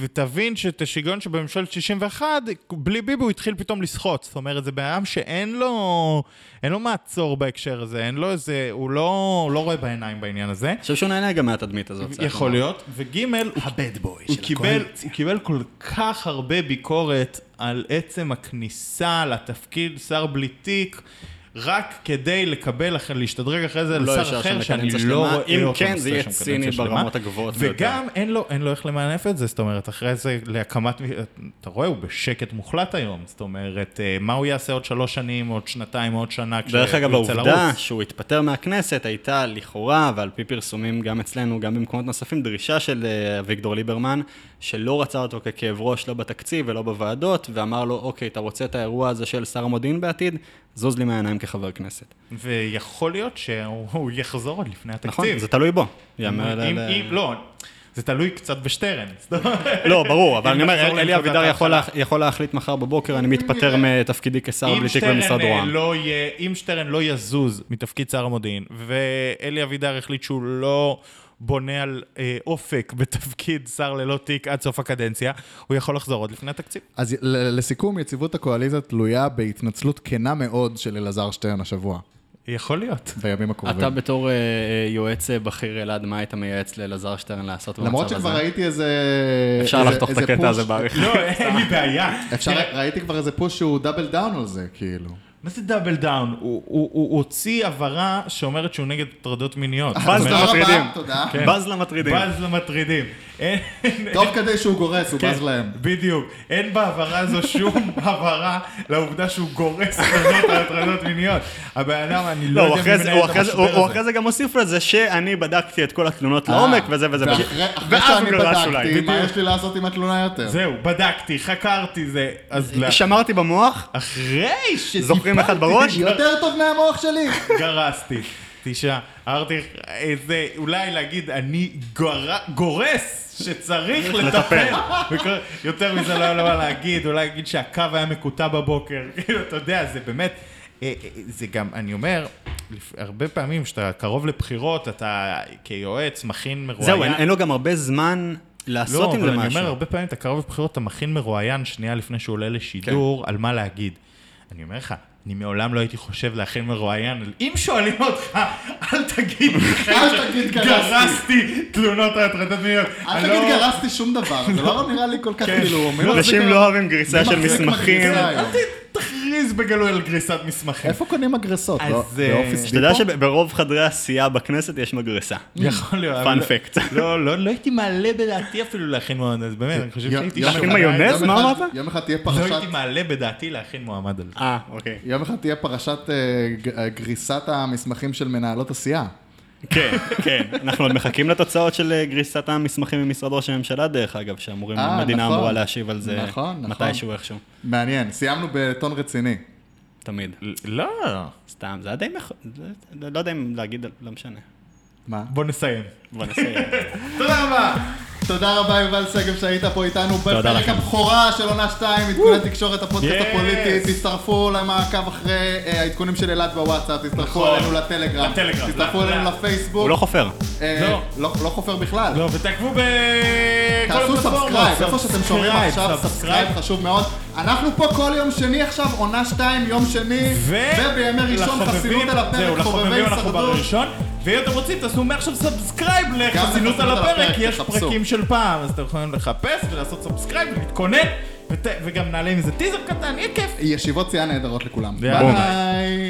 Speaker 2: ותבין שאת השיגעון שבממשלת 61, בלי ביבי הוא התחיל פתאום לסחוט. זאת אומרת, זה בן אדם שאין לו, אין לו מעצור בהקשר הזה, אין לו איזה, הוא לא, הוא לא רואה בעיניים בעניין הזה.
Speaker 3: אני חושב שהוא נהנה גם מהתדמית הזאת. צריך
Speaker 2: יכול
Speaker 3: לומר.
Speaker 2: להיות. וג', הוא
Speaker 1: הבד בוי
Speaker 2: הוא קיבל, הוא קיבל כל כך הרבה ביקורת על עצם הכניסה לתפקיד שר בלי תיק, רק כדי לקבל, אחרי- להשתדרג אחרי זה
Speaker 3: לא
Speaker 2: לשר
Speaker 3: ישר
Speaker 2: אחר,
Speaker 3: של
Speaker 2: שאני
Speaker 3: קדנציה
Speaker 2: לא
Speaker 3: שלמה.
Speaker 2: רואה
Speaker 3: אם
Speaker 2: אותו
Speaker 3: כן,
Speaker 2: עושה
Speaker 3: זה יהיה
Speaker 2: שם
Speaker 3: ציני
Speaker 2: קדנציה שלמה.
Speaker 3: ברמות הגבוהות לא ביותר.
Speaker 2: וגם אין לו, אין לו איך למנף את זה, זאת אומרת, אחרי זה להקמת, אתה רואה, הוא בשקט מוחלט היום, זאת אומרת, אה, מה הוא יעשה עוד שלוש שנים, עוד שנתיים, עוד שנה, כשהוא
Speaker 3: דרך אגב,
Speaker 2: יצא
Speaker 3: העובדה
Speaker 2: לרוץ?
Speaker 3: שהוא התפטר מהכנסת הייתה לכאורה, ועל פי פרסומים גם אצלנו, גם במקומות נוספים, דרישה של אה, אביגדור ליברמן, שלא רצה אותו ככאב ראש, לא בתקציב ולא בוועדות, ואמר לו, אוקיי, אתה רוצה את האירוע הזה של שר המודיעין בעתיד? זוז לי מהעיניים כחבר כנסת.
Speaker 2: ויכול להיות שהוא הוא יחזור עוד לפני
Speaker 3: נכון?
Speaker 2: התקציב.
Speaker 3: זה תלוי בו.
Speaker 2: אם,
Speaker 3: יאמר ל-
Speaker 2: אם,
Speaker 3: ל-
Speaker 2: אם, לא, זה תלוי קצת בשטרן. זאת [laughs] אומרת,
Speaker 3: לא, ברור, אבל
Speaker 2: אם
Speaker 3: אני
Speaker 2: נחזור
Speaker 3: אומר, אלי
Speaker 2: לנקודת
Speaker 3: אבידר יכול
Speaker 2: ההתחלה.
Speaker 3: לה- יכול להחליט מחר בבוקר, אני מתפטר מתפקידי כשר
Speaker 2: אם
Speaker 3: בלי תיק
Speaker 2: שטרן,
Speaker 3: במשרד
Speaker 2: אה,
Speaker 3: רוה"מ.
Speaker 2: לא יהיה- אם שטרן לא יזוז מתפקיד שר המודיעין, ואלי אבידר החליט שהוא לא בונה על אה, אופק [laughs] בתפקיד שר ללא תיק עד סוף הקדנציה, הוא יכול לחזור עוד לפני התקציב.
Speaker 1: אז ל- לסיכום, יציבות הקואליציה תלויה בהתנצלות כנה מאוד של אלעזר שטרן השבוע.
Speaker 2: יכול להיות.
Speaker 1: בימים הקרובים.
Speaker 3: אתה בתור אה, אה, יועץ אה, בכיר אלעד, מה היית מייעץ לאלעזר שטרן
Speaker 4: לא
Speaker 3: לעשות במצב הזה?
Speaker 1: למרות שכבר ראיתי איזה...
Speaker 3: אפשר
Speaker 1: איזה-
Speaker 3: לחתוך את
Speaker 1: איזה
Speaker 3: הקטע
Speaker 1: פוש-
Speaker 3: הזה בעריכה.
Speaker 2: [laughs] לא, אין לי בעיה.
Speaker 1: אפשר, ראיתי כבר איזה פוש שהוא דאבל דאון על זה,
Speaker 2: [laughs]
Speaker 1: כאילו.
Speaker 2: מה זה דאבל דאון? הוא- הוא הוא הוציא הבהרה שאומרת שהוא נגד הטרדות מיניות.
Speaker 3: באז
Speaker 1: תודה רבה,
Speaker 3: למטרידים.
Speaker 1: תודה.
Speaker 2: כן.
Speaker 3: בז למטרידים.
Speaker 2: בז למטרידים. אין-
Speaker 1: תוך כדי שהוא גורס, הוא
Speaker 2: כן,
Speaker 1: בז להם.
Speaker 2: בדיוק. אין בהבהרה הזו
Speaker 4: [laughs]
Speaker 2: שום הבהרה לעובדה שהוא גורס הטרדות [laughs] על הטרדות מיניות. הבן אדם, אני לא
Speaker 4: לא, הוא
Speaker 2: יודע
Speaker 4: אחרי
Speaker 2: מי
Speaker 4: זה-
Speaker 2: מנהל
Speaker 4: הוא
Speaker 2: את
Speaker 4: אחרי זה-
Speaker 2: המשבר
Speaker 4: הוא- הוא
Speaker 2: הזה.
Speaker 4: אחרי זה גם הוסיף לזה שאני בדקתי את כל התלונות לעומק
Speaker 1: אה,
Speaker 4: וזה וזה
Speaker 1: ואחרי-
Speaker 4: וזה. לא
Speaker 1: אחרי
Speaker 4: ואז
Speaker 1: שאני
Speaker 4: גלולה שוליים.
Speaker 1: בדקתי, מה יש לי לעשות עם התלונה יותר?
Speaker 2: [laughs] זהו, בדקתי, חקרתי זה. אז לא.
Speaker 4: שמרתי במוח,
Speaker 2: אחרי
Speaker 4: זוכרים אחד בראש?
Speaker 1: יותר טוב מהמוח
Speaker 2: [laughs]
Speaker 1: שלי.
Speaker 2: שגרסתי. תשעה, אמרתי, איזה, אולי להגיד, אני גר- גורס שצריך לטפל. וכל- יותר מזה לא היה לו מה להגיד, אולי להגיד שהקו היה מקוטע בבוקר. [laughs] כאילו, אתה יודע, זה באמת, אה, אה, זה גם, אני אומר, לפ- הרבה פעמים כשאתה קרוב לבחירות, אתה כיועץ מכין מרואיין.
Speaker 4: זהו, אין- אין לו גם הרבה זמן לעשות
Speaker 2: לא,
Speaker 4: עם זה
Speaker 2: אבל אני אומר,
Speaker 4: משהו.
Speaker 2: הרבה פעמים אתה קרוב לבחירות, אתה מכין מרואיין שנייה לפני שהוא עולה לשידור, על מה להגיד. אני אומר לך, אני מעולם לא הייתי חושב להכין מרואיין, על- אם שואלים אותך, אל תגיד
Speaker 1: אל תגיד גרסתי.
Speaker 2: גרסתי תלונות על הטרדות מיניות.
Speaker 1: אל
Speaker 2: אני
Speaker 1: תגיד
Speaker 2: לא-
Speaker 1: גרסתי שום דבר, זה לא נראה לי כל כך
Speaker 2: כן.
Speaker 1: כאילו, אומרים על זה
Speaker 4: אנשים
Speaker 1: כאילו-
Speaker 4: לא אוהבים גריסה של
Speaker 1: מי מחזיק
Speaker 4: מסמכים.
Speaker 1: מגריסה
Speaker 2: אל
Speaker 1: היום?
Speaker 2: ת- תכריז בגלוי על גריסת מסמכים.
Speaker 1: איפה קונים מגרסות?
Speaker 2: אז,
Speaker 1: לא?
Speaker 2: אה,
Speaker 1: באופיס
Speaker 4: אתה יודע
Speaker 1: דיפו?
Speaker 4: שברוב חדרי הסיעה בכנסת יש מגרסה.
Speaker 2: [laughs] יכול להיות. אבל
Speaker 4: פאנ
Speaker 2: לא-
Speaker 4: פקט.
Speaker 2: לא, לא לא הייתי מעלה בדעתי אפילו להכין מועמד, אז באמת, אני חושב
Speaker 1: יום-
Speaker 2: שהייתי...
Speaker 1: יום
Speaker 2: שם.
Speaker 4: להכין
Speaker 1: אחד-
Speaker 4: מיונז?
Speaker 1: יום
Speaker 4: מה
Speaker 1: אחד-
Speaker 4: אמרת?
Speaker 1: יום אחד תהיה
Speaker 2: לא
Speaker 1: פרשת...
Speaker 2: הייתי מעלה בדעתי להכין מועמד על זה.
Speaker 4: אה, אוקיי.
Speaker 1: יום אחד תהיה פרשת אה, ג- אה, גריסת המסמכים של מנהלות הסיעה.
Speaker 4: כן, כן. אנחנו עוד מחכים לתוצאות של אה, גריסת המסמכים ממשרד ראש הממשלה, דרך אגב, שאמורים,
Speaker 1: אה,
Speaker 4: המדינה
Speaker 1: נכון.
Speaker 4: אמורה להשיב על זה
Speaker 1: נכון, נכון.
Speaker 4: מתישהו איכשהו.
Speaker 1: מעניין, סיימנו בטון רציני.
Speaker 4: תמיד.
Speaker 2: לא.
Speaker 4: סתם, זה היה די מכ... זה- לא יודע אם להגיד, לא משנה.
Speaker 1: מה?
Speaker 2: בוא נסיים.
Speaker 4: בוא נסיים.
Speaker 1: [laughs] תודה רבה. תודה רבה, יובל שגב, שהיית פה איתנו בפרק
Speaker 4: לכם.
Speaker 1: הבכורה של עונה 2, עדכוני תקשורת הפודקאסט
Speaker 2: Yes.
Speaker 1: הפוליטי. תצטרפו למעקב אחרי אה, העדכונים שלי אלעד בוואטסאפ, תצטרפו
Speaker 2: נכון.
Speaker 1: אלינו לטלגרם,
Speaker 2: לטלגרם,
Speaker 1: תצטרפו
Speaker 2: ל-
Speaker 1: אלינו
Speaker 2: ל-
Speaker 1: לפייסבוק.
Speaker 4: הוא לא חופר.
Speaker 1: אה,
Speaker 2: לא.
Speaker 1: לא לא חופר בכלל.
Speaker 2: לא, ותעקבו בכל
Speaker 1: תעשו סאבסקרייב, איפה שאתם שומעים
Speaker 2: סאבסקרייב,
Speaker 1: עכשיו, סאבסקרייב חשוב מאוד. אנחנו פה כל יום שני עכשיו, עונה 2, יום שני, ובימי ראשון
Speaker 2: לחובבים-
Speaker 1: חסינות על
Speaker 2: זהו,
Speaker 1: הפרק, חובבי
Speaker 2: לחובבים אנחנו
Speaker 1: הישרדות.
Speaker 2: בראשון. ואם אתם רוצים, תעשו מעכשיו סאבסקרייב לחסינות
Speaker 1: לחסינות
Speaker 2: על
Speaker 1: על
Speaker 2: הפרק,
Speaker 1: הפרק,
Speaker 2: כי יש
Speaker 1: תחפשו.
Speaker 2: פרקים של פעם, אז אתם יכולים לחפש ולעשות סאבסקרייב ולהתכונן, ות- וגם נעלה עם איזה טיזר קטן, יהיה כיף.
Speaker 1: ישיבות סיעה נהדרות לכולם.
Speaker 2: יאללה.
Speaker 1: ביי.